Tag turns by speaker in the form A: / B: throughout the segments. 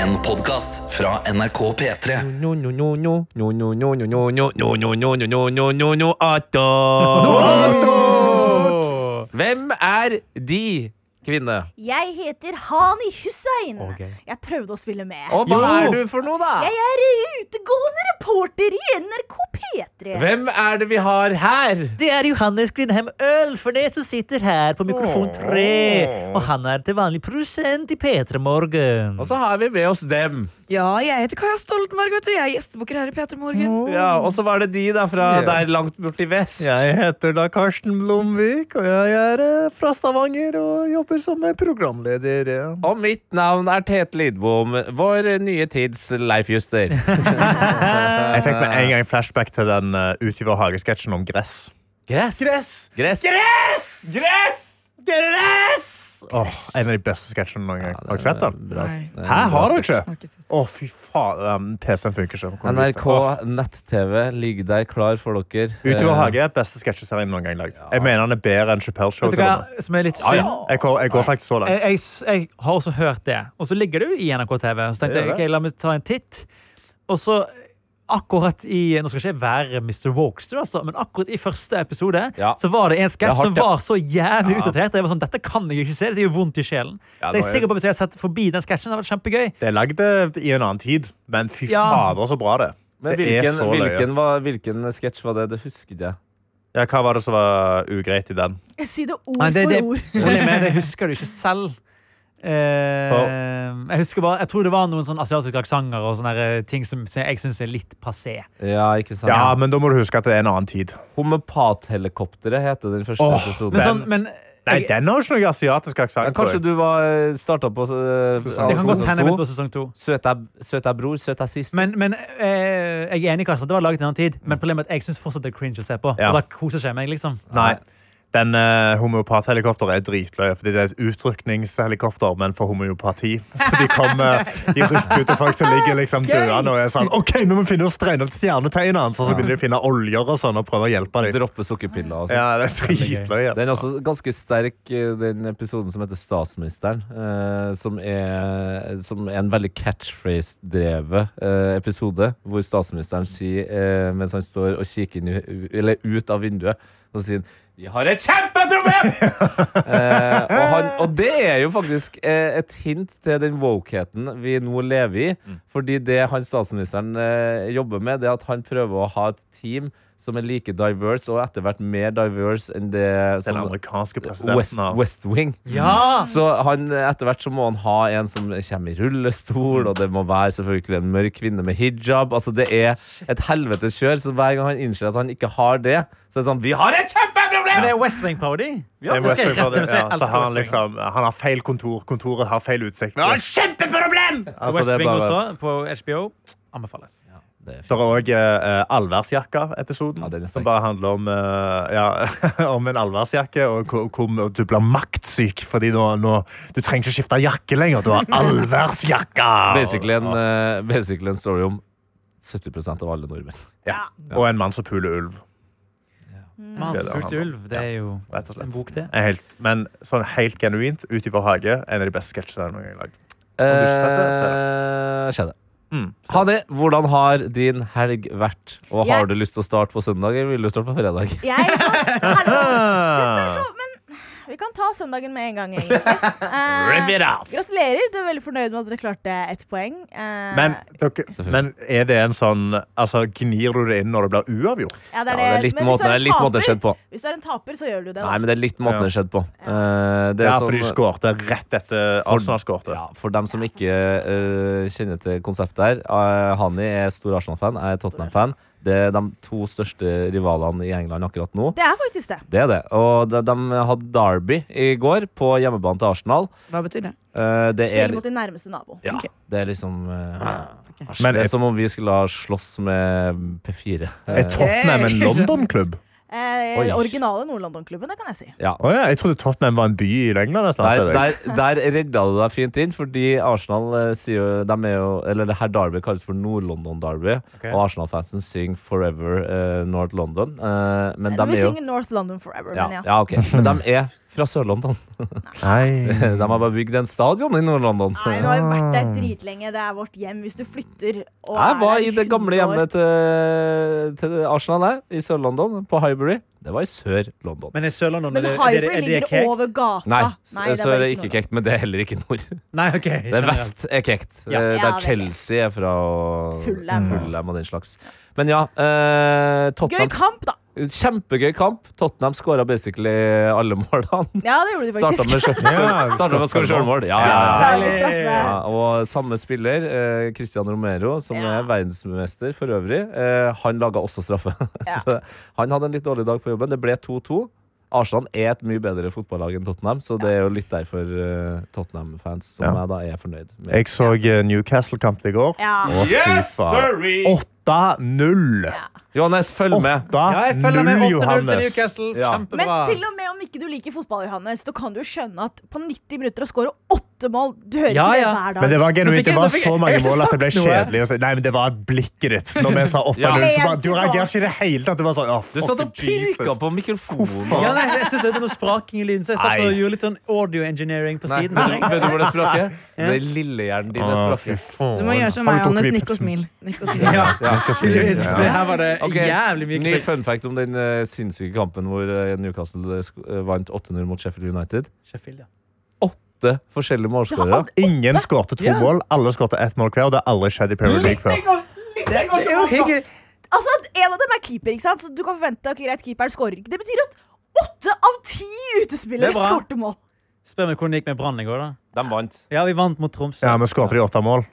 A: En podcast fra NRK P3
B: No, no, no, no, no, no, no, no, no, no, no, no, no, no, no, no, no, no, Atot! Hvem er de, kvinne?
C: Jeg heter Hani Hussein.
B: Ok.
C: Jeg prøvde å spille med.
B: Og hva er du for noe, da?
C: Jeg er utegående reporter i NRK P3.
B: Hvem er det vi har her?
D: Det er Johannes Grindheim Øl, for det som sitter her på mikrofon 3. Og han er til vanlig produsent i P3 Morgen.
B: Og så har vi med oss dem.
E: Ja, jeg heter Kaja Stoltenberg, vet du. Jeg er gjestebukker her i Peter Morgen.
B: Ja, Og så var det de da fra der langt borti vest.
F: Jeg heter da Karsten Blomvik, og jeg er eh, fra Stavanger og jobber som eh, programleder. ja.
B: Og mitt navn er Tete Lidbom, vår nye tids Leif Juster.
G: Jeg fikk med en gang flashback til den uh, ute i vår hagesketsjen om gress.
B: Gress.
F: Gress.
B: Gress.
G: Åh, en av de beste sketsjene noen gang. Har dere sett den?
B: Bra.
E: Nei.
G: Hæ, har dere
E: Jeg
G: ikke?
E: har ikke sett.
G: Å, fy faen. Um, PC-en funker ikke. Kom, vis
B: NRK
G: det. Åh,
B: nett-TV, ligg der klar for dere.
G: Ute i vår
B: Eh,
G: hage er beste sketsjeserien noen gang lagd. Jeg mener den er bedre enn Chappelle Show.
H: Vet du
G: til
H: hva Eh,
G: og med.
H: som er litt
G: Ja, ja.
H: synd?
G: Jeg, går, jeg går faktisk så
H: Jeg,
G: langt.
H: jeg, jeg har også hørt det, og så ligger det jo i NRK TV. Og så tenkte
G: Det
H: jeg
G: gjør det.
H: ok, la meg ta en titt. Og så akkurat i Nå skal ikke jeg være Mr. Wokester, altså, men akkurat i første episode
B: Ja.
H: så var det en
B: Det er
H: sketsj
B: hardt,
H: som
B: ja.
H: var så jævlig utdatert. og Jeg var sånn, Dette kan jeg ikke se. Det gjør vondt i sjelen. så
G: Ja,
H: jeg er
G: nå er-
H: sikker på at Hvis jeg hadde sett forbi den sketsjen, det hadde vært kjempegøy.
G: Det er lagd eh, i en annen tid, men fy
H: Ja.
G: fader, så bra det.
B: Men
G: Det er
B: hvilken,
G: så løye.
B: hvilken, var- hvilken sketsj var det? Det husket jeg.
G: Ja, hva var det som var ugreit i den?
C: Si det ord
H: Nei, det- det-
C: for ord.
H: Problemet er det husker du ikke selv. Eh,
G: For-
H: jeg husker bare, jeg tror det var noen sånn asiatiske aksenter og sånne eh, ting som som jeg syns er litt passé.
B: Ja, ikke sant?
G: Ja, men da må du huske at det er en annen tid.
B: Homopathelikopteret heter den første
G: Åh,
B: episoden.
H: Men
G: Den-
H: sånn, men
G: Nei,
H: jeg-
G: den har ikke noe asiatisk
B: Men
G: aksent. tror
B: kanskje
G: jeg.
B: du var starta på eh,
H: Det
G: altså
H: kan godt
B: sesong to.
H: hende jeg
G: sånn
H: begynte på sesong to.
B: Søta, søta bror, søta sist.
H: Men, men eh, jeg er enig i Karsten, det var laget i en annen tid. Men problemet er at jeg syns fortsatt det er cringe å se på.
G: Ja.
H: Og da koser jeg meg, liksom.
G: Nei. Den uh, homeopathelikopteret er dritløye, fordi det er et utrykningshelikopter, men for homeopati. Så de kommer, de rykker ut til folk som ligger liksom døende og er sånn OK, vi må finne og stregne ut stjernetegnene hans! Og så begynner de å finne oljer og sånn og prøve å hjelpe dem.
B: Droppe sukkerpiller. og sånt.
G: Ja, det er dritløye.
B: altså. Den er også ganske sterk, eh, den episoden som heter Statsministeren. eh, som, er, som er en veldig catchphrase-drevet eh, episode, hvor statsministeren sier, eh, mens han står og kikker inn, i- eller ut av vinduet, så sier han vi har et kjempeproblem! eh, og, han, og det er jo faktisk eh, et hint til den woke-heten vi nå lever i.
G: Mm.
B: Fordi det han statsministeren eh, jobber med, det er at han prøver å ha et team som er like diverse, og etter hvert mer diverse enn det
G: Den
B: som
G: amerikanske
B: West,
G: presidenten har
B: West Wing.
H: Ja!
G: Mm.
B: Så han, etter hvert så må han ha en som kommer i rullestol, og det må være selvfølgelig en mørk kvinne med hijab. Altså Det er et helvetes kjør, så hver gang han innser at han ikke har det, så er det sånn Vi har et
H: Men
B: kjempeproblem!
H: det er West Wing-parody. det
G: Det er
H: skal
G: West
H: jeg
G: Wing for
H: rette
G: det.
H: med, så jeg
G: Ja,
H: elsker
G: så har
H: West
G: han,
H: Wing.
G: liksom, han har feil kontor, kontoret har feil utsikt.
B: kjempeproblem!
G: Altså,
H: West
G: det er
H: Wing
G: bare-
H: også, på HBO. Anbefales.
G: Det er òg eh, allværsjakka-episoden,
B: Ja, den er sterk.
G: som bare handler om, eh, ja, om en allværsjakke og hvor, hvor du blir maktsyk fordi nå, nå, du trenger ikke skifte jakke lenger. Du har allværsjakka!
B: Basically en, eh, basically en story om 70 av alle nordmenn.
G: Ja. Og en mann som puler ulv.
B: Mm.
H: Mann som fulgte ulv. Det er jo
G: Rett og slett.
H: en bok, det.
G: En Helt, men sånn helt genuint, ut i vår hage, en av de beste sketsjene jeg noen gang har lagd. Mm. du ikke sett det, så
B: Eh, skjedde. Hanni, hvordan har din helg vært? Og har
C: Jeg-
B: du lyst til å starte på søndag, eller vil du starte på fredag?
C: Jeg har Hallo. Det er
G: Ah,
C: så- Men vi kan ta søndagen med en gang, egentlig. Eh, gratulerer. Du er veldig fornøyd med at dere klarte ett poeng. Eh,
G: Men, dere, men er det en sånn altså, Gnir du det inn når det blir uavgjort?
C: ja, det
B: Ja,
C: er
B: det er
C: det.
B: litt
C: Men hvis
B: måten
C: du er
B: det er
C: en
B: litt måten det
C: taper-
B: skjedde på.
C: Hvis du er en taper, så gjør du det.
B: Nei,
C: da.
B: men det er litt måten det skjedde på. Eh, det er
G: Ja, for de
B: sånn-
G: skårte rett etter Arsenal skårte.
B: Ja, for dem som ikke eh, kjenner til konseptet her. eh, Hani er stor Arsenal-fan, jeg er Tottenham-fan. Det er de to største rivalene i England akkurat nå.
C: Det er faktisk det.
B: Det er det. Og de, de hadde Derby i går, på hjemmebane til Arsenal.
E: Hva betyr det?
B: Eh, det, er,
C: Spiller mot din nærmeste nabo.
B: ja, det er liksom eh,
G: Men
B: Det
G: er-
B: er som om vi skulle ha slåss med P4.
G: Er Tottenham en London-klubb?
C: Eh, eh,
B: Oi.
C: originale Nord-London-klubben, det kan jeg si.
G: Å ja, jeg trodde Tottenham var en by i England. et eller annet
B: Der,
G: sted, jeg.
B: der, der redda du deg fint inn, fordi Arsenal eh, sier jo, de er jo Eller det her derby kalles for Nord-London-derby.
H: Ok.
B: Og Arsenal-fansen synger 'Forever eh, North London'. eh, men
C: Eller
B: de
C: vi
B: er jo
C: synger North London Forever,
B: ja,
C: men ja.
B: ja, ok. Men de er fra Sør-London.
G: Nei.
B: De har bare bygd en stadion i Nord-London.
C: Nei, nå har vi vært der dritlenge. Det er vårt hjem hvis du flytter. og
B: Jeg
C: er
B: var
C: der
B: i det gamle
C: 100 år.
B: hjemmet til, til Arsenal, jeg. I Sør-London, på Highbury. Det var i Sør-London.
H: Men i Sør-London, er
C: Men
H: det, er det,
C: Hyper
H: er det
C: ligger
H: kekt?
C: over gata.
B: Nei,
C: det
B: så er det
C: bare
B: ikke kekt, men det er heller ikke nord.
H: Nei, ok.
B: Det er
H: skjønner jeg.
B: vest er kekt.
H: Ja.
B: Eh,
C: Ja,
B: Der
C: det er
B: Chelsea er fra og
C: Fulham.
B: Fulham og den slags. Men ja, eh,
C: noe. Gøy
B: Tottenham
C: kamp, da!
B: Kjempegøy kamp. Tottenham skåra basically alle målene.
C: Ja, det gjorde de
B: Starta
C: faktisk.
B: med sjøl-
G: Ja,
B: starta med å skåre sjølmål. Ja, ja, ja.
C: Deilig straffe.
B: Ja, og samme spiller, eh, Christian Romero, som
C: Ja.
B: er verdensmester for øvrig, eh, han laga også straffe.
C: Ja.
B: Så han hadde en litt dårlig dag på jobben. Det ble 2-2. Arsenal er et mye bedre fotballag enn Tottenham, så det er jo litt derfor eh, Tottenham-fans som
G: Ja.
B: jeg da er fornøyd med.
G: Jeg så eh, Newcastle-kampen i går.
C: Ja.
G: Å, fy faen. 8-0!
B: Johannes, følg med!
H: Ja, jeg følger med 8-0
G: 8-0,
H: til
G: Ah, Johannes.
H: Newcastle.
B: Ja.
C: Men
H: Kjempebra.
C: til og med om ikke du liker fotball, Johannes, så kan du jo skjønnne at på 90 minutter å skåre åtte mål Du hører
H: Ja,
C: ikke det
H: ja.
C: hver dag.
G: Men det var genuint. Det
H: Nå
G: var
H: fikk jeg- nå fikk
G: så
H: jeg-
G: mange
H: jeg har
G: mål at det ble
H: ikke sagt noe.
G: kjedelig. å se. Nei, men det var blikket ditt når vi sa 8-0. så bare- Du reagerte ikke i det hele tatt. Du var sånn, «Å,
B: Du satt og
G: fuck Jesus».
B: pirka på mikrofonen.
H: Ja, nei, jeg synes det er noe spraking i lyden, så jeg satt
G: Nei.
H: og gjorde litt sånn audio engineering på
B: Nei,
H: siden.
B: vet, du,
H: her, jeg.
B: vet du hvor det spraket? Det er lillehjernen din det
G: Å, fy
B: spraket.
G: faen.
E: Du må gjøre som
G: Har
E: meg,
G: du tatt
E: Johannes.
G: Vipsen?
E: Nikk og smil. Nikk og smil.
H: Ja,
G: Ja, ikke så mye.
H: tydeligvis. For her var det
B: Ok,
H: jævlig mye
B: Ny fun fact om den eh, sinnssyke kampen hvor eh, Newcastle eh, sk- eh, vant 8-0 mot Sheffield United.
H: Sheffield, ja.
B: åtte forskjellige
C: Jeg
B: målskårere.
C: har aldri-
G: Ingen skårte to
H: Ja.
G: mål. Alle skårte ett mål hver. Og det har aldri skjedd i Premier League før.
H: Det er jo hyggelig.
C: Altså, at En av dem er keeper, ikke sant? så du kan forvente ok, greit, keeperen skårer ikke. Det betyr at åtte av ti utespillere
H: Det er bra.
C: skårte mål.
H: Spør meg hvordan det gikk med Brann i går, da.
B: De vant.
H: Ja, vi vant mot Tromsø.
G: Ja, men skårte de åtte mål?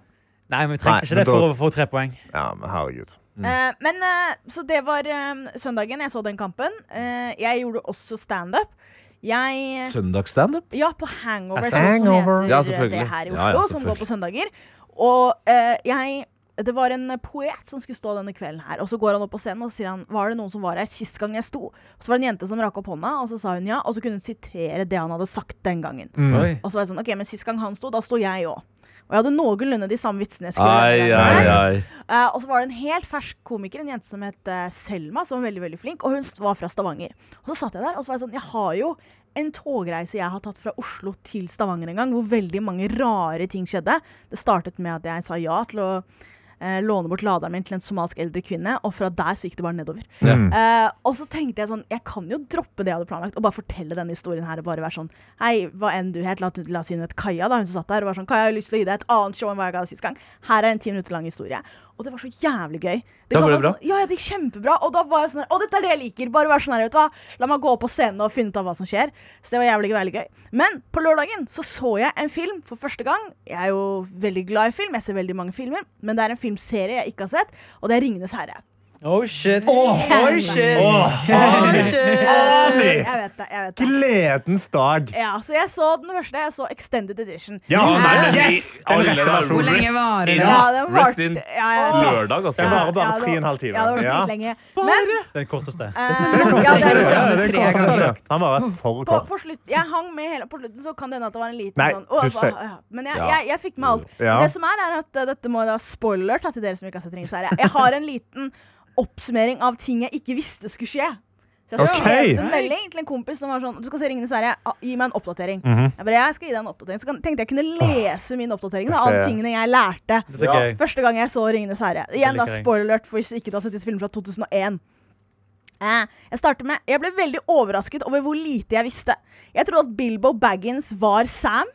H: Nei, men vi trengte
G: Nei,
H: ikke
G: men
H: det for
G: da-
H: å få tre poeng.
G: Ja, men herregud.
B: Mm.
C: Eh, men eh, Så det var eh, søndagen. Jeg så den kampen. Eh, jeg gjorde også standup. Jeg
B: Søndagsstandup?
C: Ja, på Hangover,
H: Altså,
C: sånn som
G: Hangover.
C: heter
B: Ja,
C: det
B: selvfølgelig.
C: her i Oslo,
B: Ja, ja,
C: som
B: selvfølgelig.
C: går på søndager. Og eh, jeg Det var en poet som skulle stå denne kvelden her, og så går han opp på scenen og så sier han Var det noen som var her sist gang jeg sto? Og så var det en jente som rakk opp hånda, og så sa hun ja, og så kunne hun sitere det han hadde sagt den gangen.
G: Mm.
H: Oi.
C: Og så var jeg sånn, ok, men sist gang han sto, da sto jeg òg. Og jeg hadde noenlunde de samme vitsene. jeg skulle gjøre
B: Ai,
C: den gangen
B: ai,
C: her.
B: ai.
C: Eh, og så var det en helt fersk komiker, en jente som het eh, Selma, som var veldig veldig flink, og hun s- var fra Stavanger. Og så satt jeg der, og så var jeg sånn Jeg har jo en togreise jeg har tatt fra Oslo til Stavanger en gang, hvor veldig mange rare ting skjedde. Det startet med at jeg sa ja til å eh, låne bort laderen min til en somalisk eldre kvinne, og fra der så gikk det bare nedover.
B: Mm.
G: Mm.
C: Eh, og så tenkte jeg sånn Jeg kan jo droppe det jeg hadde planlagt, og bare fortelle denne historien her, og bare være sånn Hei, hva enn du het, la, la oss si hun het Kaja, da, hun som satt der, og var sånn Kaja, jeg har lyst til å gi deg et annet show enn hva jeg ga deg sist gang. Her er en ti minutter lang historie. Og det var så jævlig gøy. Det
B: Da
C: ga
B: var
C: meg
B: det bra.
C: Sånn, ja, det gikk kjempebra. Og da var jeg sånn her Å, dette er det jeg liker. Bare vær sånn her, vet du hva. La meg gå opp på scenen og finne ut av hva som skjer. Så det var jævlig veldig gøy. Men på lørdagen så så jeg en film for første gang. Jeg er jo veldig glad i film, jeg ser veldig mange filmer, men det er en filmserie jeg ikke har sett, og det er 'Ringenes herre'.
H: Oh shit. Oi, shit. Oi, shit.
C: Jeg
G: Ani!
C: vet det, jeg vet det.
G: Gledens dag.
C: Ja, så jeg så den første. Jeg så Extended Edition.
G: Ja,
C: nei,
B: men
G: yes! Den
B: alle
G: rette
B: var
G: versjonen.
E: Hvor lenge varer det?
C: Ja, den
B: Rest
C: varte-
B: in
C: ja, ja, ja.
B: Lørdag, altså.
G: Den varer
C: Ja,
G: bare
C: det
G: tre og en halv time.
C: Ja, det var
G: Ja.
C: dritlenge. Men
H: Den korteste.
C: eh, ja, det
E: korteste
C: er-
E: jeg har sett.
G: Ja, det er
E: Tre
G: kort,
E: ganger.
G: altså. Han var for
C: på,
G: kort.
C: på slutt, jeg hang med hele På slutten så kan det hende at det var en liten
G: Nei,
C: sånn «Åh,
G: du
C: hva-
G: ser-
C: ja». Men jeg,
B: Ja.
C: jeg, jeg fikk med alt.
G: Ja.
C: Det som er, er at eh, dette må da spoiler ta til dere som ikke har sett Ringens herre. Jeg har en liten oppsummering av ting jeg ikke visste skulle skje. Så jeg
G: Ok.
C: skrev en melding til en kompis som var sånn Du skal se Ringenes herre, ah, gi meg en oppdatering.
G: Mhm.
C: Jeg bare, jeg skal gi deg en oppdatering Så kan- tenkte jeg kunne lese min oppdatering da, av
G: Dette-
C: tingene jeg lærte.
H: Dette er gøy.
C: Første gang jeg så Ringenes herre.
H: Det
C: Igjen da,
H: liker jeg.
C: spoiler alert for hvis ikke du har sett disse filmene fra 2001. Eh, Jeg starter med Jeg ble veldig overrasket over hvor lite jeg visste. Jeg trodde at Bilbo Baggins var Sam.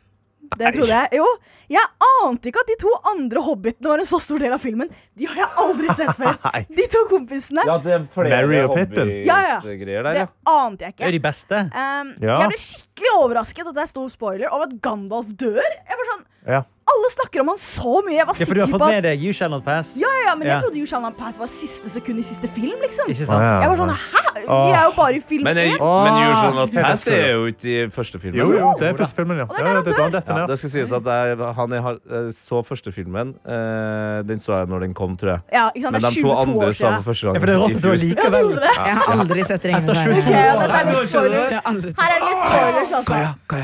C: Det trodde jeg. Jo, jeg ante ikke at de to andre hobbitene var en så stor del av filmen. De har jeg aldri sett før.
G: Nei.
C: De to kompisene.
B: Ja, det er flere
G: Mary og Pippin.
B: hobbygreier der, ja.
C: Det ante jeg
H: Det er
C: ikke.
H: de beste.
C: Um,
G: Ja.
C: Jeg ble skikkelig overrasket, og det er stor spoiler, over at Gandalf dør. Jeg var sånn
G: Ja.
C: alle snakker om han så mye. Jeg var
H: Ja, for du
C: sikker
H: har fått
C: på
H: med
C: at
H: deg You Shall Not Pass.
C: ja, ja, ja, men
H: Ja.
C: jeg trodde jo Shannon Pass var siste sekund i siste film, liksom.
H: Ikke
G: Å,
H: sant?
G: ja.
C: Jeg var sånn Hæ? Vi er jo bare i film
B: Men,
C: én.
B: jeg, men Usual Not Pass er jo ikke i første filmen.
G: Jo, jo, det er første filmen, ja.
C: Og det er
G: ja,
C: der
G: ja,
C: han
G: det er da han detter
B: Ja,
G: ned.
B: det skal sies at jeg, han jeg har, eh, så første filmen. eh, den så jeg når den kom, tror jeg.
C: Ja, ikke sant?
B: Men
C: Det
B: de
C: er
B: to
C: 22
B: andre
C: år
B: så jeg
C: siden.
B: for første gang.
H: Ja, for det er rått at du har
B: i fjor.
C: Jeg gjorde
H: likevel.
C: det.
I: Jeg har aldri sett
H: Etter
I: Ringenes
C: Ok,
H: 22
C: ja,
H: år.
C: dette er litt spoiler.
I: Jeg har aldri sett
C: Her er det litt spoilers, altså.
G: Kaja,
C: Her er det litt, ja,
G: gjør det.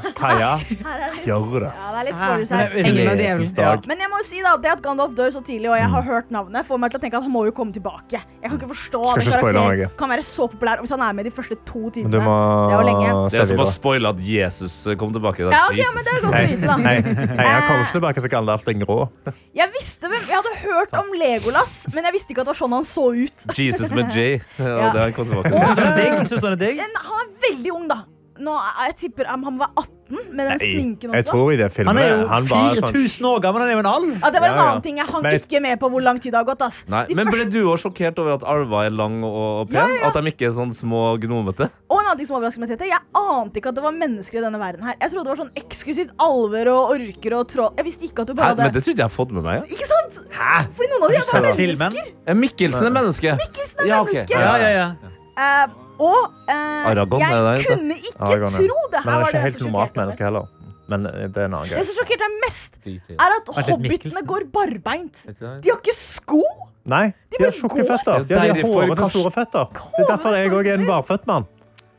C: det er litt
I: Ah,
C: spoilers her.
I: Engel og djevelen.
G: Edens dag.
C: Men jeg må jo si da, at det at Gandalf dør så tidlig, og jeg har hørt navnet, får meg til å tenke at han må jo komme tilbake. Jeg kan ikke forstå at en
G: Skal ikke spoile
C: karakter
G: noe.
C: kan være så populær og hvis han er med de første to
G: Men du
C: timene.
G: må
C: Det var lenge.
B: Det er
G: se
B: som å
G: videre.
B: spoile at Jesus eh, kom tilbake. Da.
C: Ja, ok,
B: Jesus.
C: men det er jo godt
G: Hei,
C: å vite, da.
G: hei, hei, han kommer
C: Eh,
G: ikke tilbake som Gandalf den grå.
C: Jeg visste hvem Jeg hadde hørt om Legolas, men jeg visste ikke at det var sånn han så ut.
B: Jesus med J. Og
C: Ja.
B: det han kom tilbake til.
H: Syns du han er digg? Syns du han er digg?
C: Men han var veldig ung, da. Nå, jeg tipper um, han var 18, med den sminken
G: jeg
C: også.
G: tror i det filmet
H: Han er jo
G: han var sånn-
H: 4000 år gammel, han er jo en alv.
C: Ja, Det var en
G: Ja, ja.
C: annen ting. Jeg hang
G: Men jeg-
C: ikke med på hvor lang tid det har gått. ass
B: Nei,
C: De
B: men
C: første-
B: ble du òg sjokkert over at alver er lang og og pen?
C: Ja, ja, ja.
B: At de ikke er sånn små gnomete?
C: Og en annen ting som overrasker meg, Tete, jeg ante ikke at det var mennesker i denne verden her. Jeg trodde det var sånn eksklusivt alver og orker og troll. Jeg visste ikke at du
B: Hæ,
C: bare
B: men
C: hadde
B: det trodde jeg jeg hadde fått med meg.
C: Ikke sant?
H: Hæ?
C: Fordi noen av de
H: Har
C: var
H: du sett filmen?
C: mennesker.
B: Ja. Mikkelsen er menneske.
C: Mikkelsen er
B: Ja, ok.
C: menneske.
H: Ja, ja, ja.
C: Eh, og eh,
B: Aragorn, er det
C: jeg
B: det heter?
C: kunne ikke
G: Aragorn, ja.
C: tro det her
G: Men han er
C: var det
G: ikke
C: altså.
G: helt
C: som
G: normalt
C: sjokkerte meg
G: menneske heller. Men eh, det er en annen
C: Det
G: greie.
C: som sjokkerte meg mest,
B: ja.
C: er at
H: litt
C: hobbitene
H: Mikkelsen.
C: går barbeint. De har ikke sko!
G: Nei, de har tjukke
C: går-
G: føtter. De har
B: Deilig for
G: hårete,
B: kors.
G: store føtter. Det er derfor jeg òg er en barføtt mann.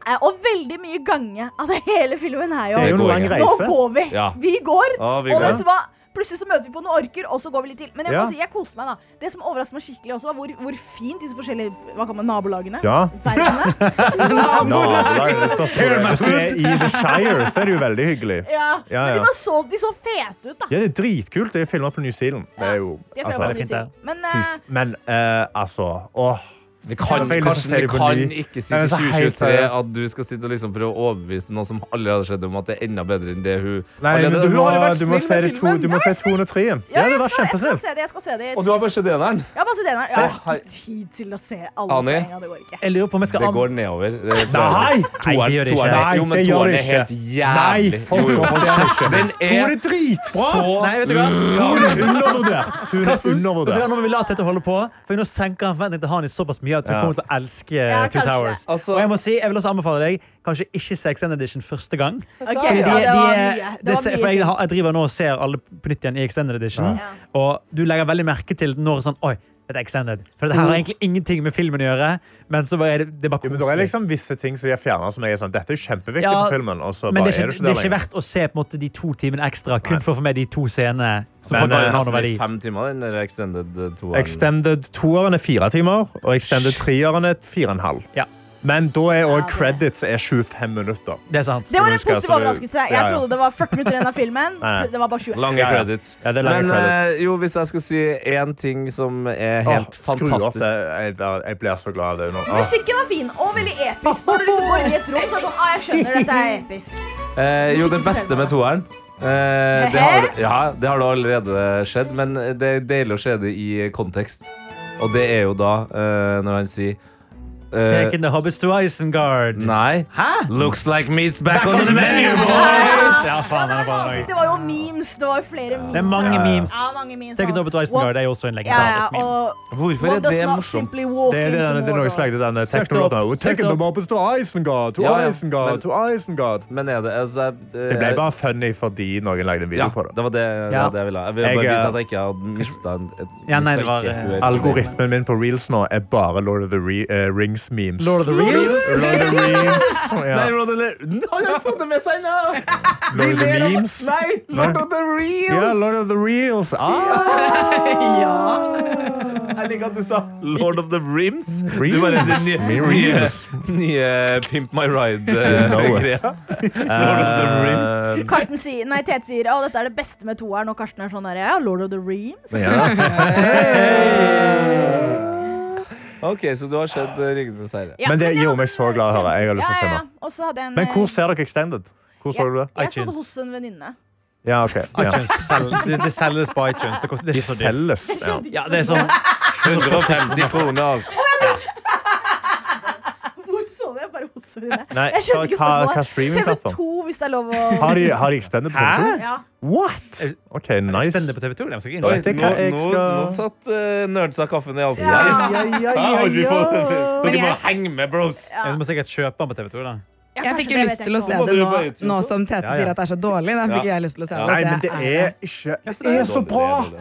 C: Eh, og veldig mye gange. Altså, hele filmen er jo
G: Det er jo en
B: går
G: lang
B: ikke.
C: Nå
G: reise.
C: går vi!
B: Ja.
C: Vi går.
B: Ja, vi
C: Og
B: går.
C: vet du hva? Plutselig så møter vi på noen orker, og så går vi litt til. Men jeg, må
G: Ja.
C: si, jeg koste meg, da. Det som overrasket meg skikkelig, også var hvor, hvor fint disse forskjellige hva kan man, nabolagene
G: Ja.
C: Verdenene.
G: altså, Hør meg ut! I The Shire så er det jo veldig hyggelig.
C: Ja.
G: Ja,
C: Men
G: ja.
C: de, var så, de så fete ut, da.
G: Ja, det er dritkult. Det er filma på New Zealand. Det er jo
C: Det
G: altså,
C: føler
H: det er
C: jeg
H: fint,
C: var mye Men
G: fy
C: eh,
G: f- Men eh, altså Åh.
B: Vi kan,
G: Jeg har
B: Karsten,
G: lyst til å se
B: vi
G: det på
B: kan
G: ny.
B: ikke si til
G: Nei, men så helt
B: 2023
G: seriøst.
B: at du skal sitte og liksom prøve å overbevise noen som allerede har sett om at det er enda bedre enn det hun
G: Nei,
B: allerede,
G: men du
B: Hun
G: må,
B: har jo vært
G: du må
B: snill
G: se
B: med
G: det to,
B: filmen.
G: du må se
C: ja,
G: 203-en. Ja, det
C: jeg
G: var
C: skal- Jeg skal
G: kjempesnilt.
C: se det. Jeg skal se det.
B: Og du har bare sett eneren.
C: Jeg har bare sett den her. Jeg
B: Å,
C: har
B: her-
C: ikke tid til å se alle
B: Ani?
C: poengene. Det går ikke.
H: Jeg lurer på om jeg skal
B: Det
H: an-
B: går nedover. Det er-
G: Nei!
H: Nei, det gjør det ikke.
B: Toeren er-
G: Nei,
B: jo, men
G: det gjør
B: toeren
G: det
B: er helt
G: Nei,
B: jævlig.
G: fuck
B: Jo, jo.
G: off. det er ikke.
B: Den
G: Tor
B: er
G: er dritbra!
B: så
H: Nei, vet du hva?
G: Tor er undervurdert. Tor
H: Karsten,
G: er
H: vet du hva,
G: undervurdert.
H: nå må vi la Tete holde på, for nå senker han forventningene til Hani såpass mye at hun
G: Ja.
H: kommer til å elske
C: Ja,
H: Two
C: kanskje.
H: Towers.
B: Altså-
H: og jeg må si, jeg vil også anbefale deg kanskje ikke Sex and Edition første gang.
C: Ok,
H: Fordi de,
C: ja, det var
H: de,
C: mye.
H: det
C: Det
H: ser-
C: var
H: for jeg,
C: mye.
H: har- jeg driver nå og ser alle på nytt igjen i Extended Edition,
C: Ja.
H: og du legger veldig merke til når sånn Oi, dette er Extended. For det her har egentlig ingenting med filmen å gjøre, men så er det, det er bare
G: Ja, men
H: koselig.
G: det er liksom visse ting som de har fjernet som jeg er sånn Dette er jo kjempeviktig
H: Ja,
G: for filmen, og så
H: Men
G: bare
H: det er, ikke,
G: det
H: det
G: ikke
H: er ikke verdt å se på en måte de to timene ekstra kun for å få med de to scenene som
G: Men,
H: faktisk
G: eh,
H: har noe
B: nesten
H: verdi.
B: i fem timer, den der extended toeren.
G: Extended toeren er fire timer, og extended treeren er fire og en halv.
H: Ja.
G: Men da er
C: Ja,
G: òg
C: det-
G: credits er 25 minutter.
H: Det er sant.
C: Det var
G: Så
C: en
G: vi skal-
C: positiv
G: så vi-
C: overraskelse.
G: Ja,
C: Jeg
G: ja.
C: trodde det var 40 minutter igjen av filmen.
G: Nei.
C: Det var bare 20.
B: Lange
G: Ja, ja.
B: credits.
G: Ja, det er lange
B: Men
G: credits.
B: eh, jo, hvis jeg skal si én ting som er
G: Åh,
B: helt
G: skru opp
B: fantastisk
G: det. Jeg, jeg blir så glad av det nå. Åh.
C: Musikken var fin og veldig episk. Når du liksom går inn i et rom, så er det sånn ah, jeg skjønner dette er episk.
B: Eh, jo, det beste med toeren eh, det, har, ja, det har da allerede skjedd, men det er deilig å se det i kontekst. Og det er jo da eh, når han sier eh,
H: Taking the Hobbits to Isengard.
B: Nei.
H: Hæ?
B: Looks like meat's back, on the menu!
H: Ja, faen, den er bra.
C: Det var jo memes. Det var jo flere memes.
H: Det er mange memes.
C: Ja, mange memes.
H: Taking the Hobbits to Isengard er jo også en
C: Ja, ja,
H: legendarisk meme.
C: og
B: Hvorfor er
C: One does
B: det
C: not
B: morsomt?
C: simply walk
G: Det er
C: into
G: den, det er noe jeg
C: Mordor.
G: slengte den eh,
H: Søkt opp.
G: teknologen.
H: Søkt
G: Taking the
H: opp.
G: mobs to Isengard, to
B: Ja, ja. Men-
G: Isengard, to Isengard.
B: Men er det altså, jeg,
G: Det ble bare funny fordi noen lagde en video
B: ja,
G: på det.
B: det var det, det,
H: Ja.
B: var det jeg ville. Jeg ville bare
G: Jeg,
B: vite
G: eh,
B: at jeg ikke hadde mista en et,
H: Ja, nei,
B: vi skal
H: det var,
B: ikke
H: eh,
B: gjøre det.
G: Algoritmen min på reels nå er bare Lord of the Re eh, Rings-memes.
H: Lord of the Rings?
G: Lord of the Reels. Ja.
B: Nei, Lord of the- Han har fått det med seg nå!
G: Lord of the Memes.
B: Nei, Lord of the
G: Ja, Lord
B: Reels!
G: of the Reels. Ah,
B: Jeg liker at du sa Lord of the Rims.
G: Reels.
B: Du bare den nye, nye,
G: Reels.
B: nye Pimp My eh,
G: know it.
B: Ride-greia. Lord of the Rims.
G: Eh,
C: Karsten sier, nei, Tete sier å, dette er det beste med toeren, og Karsten er sånn der ja, Lord of the Reams.
B: OK, så du har sett eh, Ringenes herre.
C: Ja,
G: Men det
C: jeg
G: gjorde meg
C: hadde
G: så glad å høre. Jeg har lyst til å se
C: ja,
G: mer.
C: ja. Og så hadde jeg en
G: Men hvor
C: eh,
G: ser dere Extended? Hvor så du det?
C: Jeg så det
H: iTunes?
C: hos en venninne.
G: Ja, ok. Ja.
H: iTunes selger- det, det selges på iTunes. Det, koster, det er
G: De
H: ikke så dyrt.
G: selges. Ja.
H: Ja, det er sånn
B: 150 kroner.
C: Hvor så det? Jeg bare hos så mine.
G: Nei,
C: Jeg skjønte ikke
G: hva, hva, hva
C: spørsmålet.
G: streamingplattform?
C: TV2, hvis det er lov å
G: Har de, har de extended på TV2?
C: Ja.
G: What? OK, nice.
H: Stende på TV 2. De skal ikke
B: Oi,
H: inn.
G: vet jeg
B: nå,
G: hva jeg
B: nå,
G: skal-
B: nå satt uh, nerdsa kaffen i halsen.
C: Ja.
B: her.
G: Ja, ja,
B: Hæ,
G: ja,
B: har vi fått-
G: ja.
B: Dere må
E: jeg-
B: henge med, bros!
C: Ja.
H: Ja, Du må sikkert kjøpe den på TV 2. da
C: Ja,
E: Jeg
C: kanskje
E: fikk jo
C: det
E: lyst
C: vet
E: til å
C: jeg
E: se
C: ikke om.
E: det
B: Nå
E: nå,
B: må du bare ut,
E: nå som Tete
H: Ja, ja.
E: sier at det er så dårlig. Da fikk
B: Ja.
E: jeg lyst til å se det.
G: Nei,
E: så jeg
G: men det Altså, er ikke Det
B: dårlig,
G: er så
B: det
G: bra!
B: er dårlig.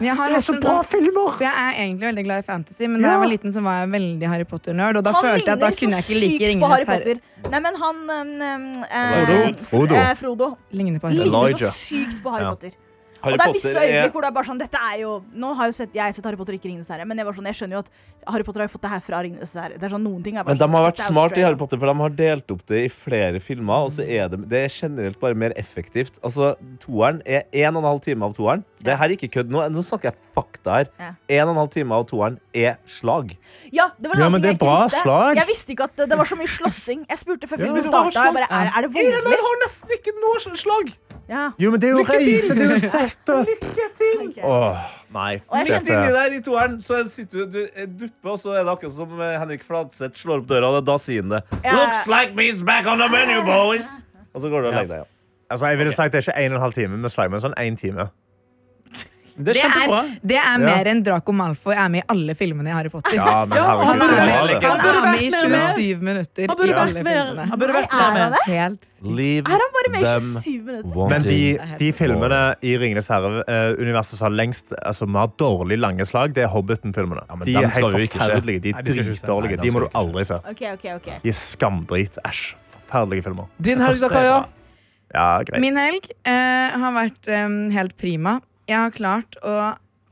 E: Men jeg har
G: Det er
E: hatt
G: så
E: en
G: bra
E: sånn-
G: filmer!
E: For jeg er egentlig veldig glad i fantasy, men da jeg var liten, så var jeg veldig Harry Potter-nerd. Og da
C: Han
E: følte jeg at da
C: ligner
E: kunne jeg
C: så
E: ikke like
C: sykt på Harry
E: Ringenes herre.
C: Potter. Nei, men han um, um,
B: Frodo.
C: eh,
G: Frodo.
C: eh, Frodo.
E: Ligner på Harry Potter.
C: Ligner
G: Elijah.
C: så sykt på Harry
G: Ja.
C: Potter.
B: Harry
C: og det er visse
B: Potter er
C: øyeblikk hvor det er bare sånn Dette er jo Nå har jo sett, jeg har sett Harry Potter, ikke Ringenes herre, men jeg, var sånn, jeg skjønner jo at Harry Potter har jo fått det her fra Ringenes herre. Det er sånn noen ting er bare
B: Men de
C: sånn,
B: har vært
C: dette er jo
B: smart i
C: straight
B: Harry
C: up.
B: Potter, for de har delt opp det i flere filmer. Og så er det, det er generelt bare mer effektivt. Altså, Toeren er 1 12 time av toeren. Det her er ikke kødd nå. Nå snakker jeg fakta her.
C: Ja.
B: 1 12 time av toeren er slag.
C: Ja, det var en
G: Ja,
C: annen
G: men
C: ting jeg
G: det er bra
C: ikke visste.
G: slag.
C: Jeg visste ikke at det, det var så mye slåssing. Jeg spurte før
G: Ja,
C: filmen
G: det var
C: starta. Jeg bare, er,
E: slag.
C: er det voldelig?
B: har nesten ikke noe slag!
C: Ja.
G: Jo, men det er jo
B: Lykke til!
G: reise, det er jo setup!
B: Lykke til!
G: Åh, nei.
C: Og jeg
B: Midt
C: kjente
B: inni der i toeren så sitter du du dupper, og så er det akkurat som eh, Henrik Fladseth slår opp døra, og da sier han det.
C: Ja.
B: Looks like me's back on the menu, boys! Og så går du og legger deg igjen.
G: Altså, jeg ville sagt det er ikke en og en halv time med slime, men sånn en time.
H: Det er
E: Det er,
H: kjempebra.
E: det er mer enn Draco Malfoy er med i alle filmene i Harry Potter.
G: Ja, men herregud,
E: han er
G: det
E: med.
G: var det.
E: Han er med i
H: vært mer med.
E: 27 minutter.
H: Han burde
E: i alle
H: vært med.
E: filmene.
H: Han burde vært
C: Nei, er
H: mer
C: han
H: med.
E: Helt
B: Leave
C: Er han bare med i
B: them
C: 27 minutter?
G: Men de,
E: helt
G: de filmene i Ringenes herre-universet som har lengst altså, mer dårlig lange slag, det er Hobbiten-filmene.
B: Ja, men
G: de
B: dem
G: er
B: skal
G: helt
B: vi jo ikke se.
G: forferdelige. De
H: Nei,
G: er
H: de skal vi ikke
B: Nei,
H: se.
G: dritdårlige.
B: dem
G: De
B: skal
G: må
B: vi
G: du
B: ikke
G: aldri se.
C: Ok, ok, ok.
G: De er skamdrit. Æsj. Forferdelige filmer.
B: Din helg, da, Kaja.
G: Ja, greit.
E: Min helg eh, har vært eh, helt prima. Jeg har klart å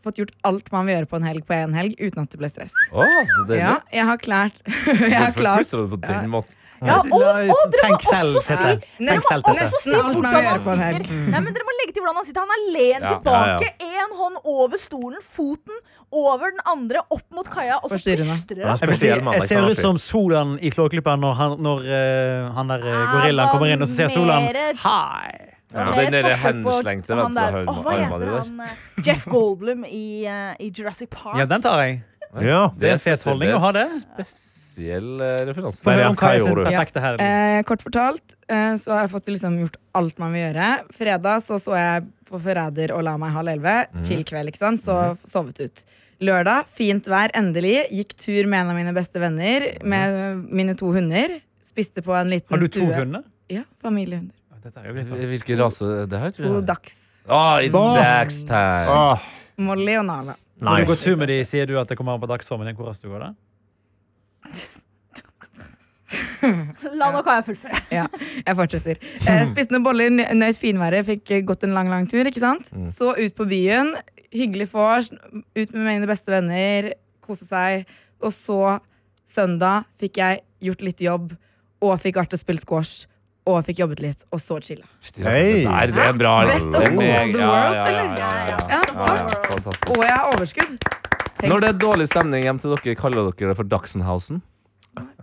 E: fått gjort alt man vil gjøre på en helg på en helg uten at det ble stress.
B: Å, så deilig.
E: Ja, jeg har klart Jeg har
B: Hvorfor
E: klart
B: plystrer du på den måten?
C: Ja, og, og dere må
H: Tenk selv,
C: også si
H: Tete.
C: Dere
E: Tenk
C: må
H: selv, Tete.
C: også si
E: Nesten alt man
C: hvordan
E: gjør
C: han
E: på Mm. en
C: sitter. Nei, men dere må legge til hvordan han sitter. Han er lent
B: Ja.
C: tilbake, én hånd over stolen, foten over den andre, opp mot kaia, og så
E: Forstyrrende.
C: plystrer
G: Han er
C: han.
H: Jeg, vil si,
G: spesiell mann.
H: jeg ser
G: liksom,
H: ut som Solan i Flåklypa når han, når, eh, han der eh, gorillaen kommer inn, og så ser Solan
C: Mere-
H: Hei!
B: Ja,
C: Mer
B: den der
C: forsøk på
B: henslengte
C: han
B: venstre
C: der-
B: armen-
C: Åh, hva heter
B: armen din der.
C: han, eh, Jeff Goldblum i, eh, i Jurassic Park.
H: Ja, den tar jeg.
G: Archie. Ja.
H: Det er en fet holdning å ha det.
B: Spesiell eh, referanse.
H: Få
G: Nei,
H: høre om hva jeg
G: gjorde
H: synes
G: du?
H: er perfekte her.
E: Eh, kort fortalt eh, så har jeg fått liksom gjort alt man vil gjøre. Fredag så så jeg på Forræder og la meg halv elleve.
H: Mm.
E: Chill kveld, ikke sant. Så f- sovet ut. Lørdag, fint vær, endelig. Gikk tur med en av mine beste venner med eh, mine to hunder. Spiste på en liten
H: Mm. Har du to
E: stue.
H: hunder?
E: Ja, familiehunder.
H: Dette er jo litt
B: Hvilken rase det her,
E: To
B: tror jeg?
E: dags.
B: Ah, it's
G: Bah!
B: Dax time.
G: Åh,
E: Molly og Nala.
H: Når du går
G: nice.
H: tur med de, sier du at det kommer an på dagsformen din, hvor raskt du går da?
C: La nå Kaja fullføre.
E: Ja, jeg fortsetter. Eh, spiste noen boller, nø- nøt finværet, fikk eh, gått en lang, lang tur. ikke sant?
B: Mm.
E: Så ut på byen, hyggelig vors, ut med mine beste venner, kose seg. Og så, søndag, fikk jeg gjort litt jobb, og fikk vært og spilt squash, og fikk jobbet litt, og så chilla.
G: Hey.
B: Det der, det er en bra
E: Best of
B: det er
E: all
B: meg-
E: the
B: ja,
E: worlds,
B: ja, ja,
E: eller?
B: ja, ja, ja.
E: Ja,
B: Ja, ja,
E: takk.
B: fantastisk.
E: Og jeg har overskudd. Tenk.
B: Når det er dårlig stemning hjem til dere, kaller dere det for Dachsenhausen?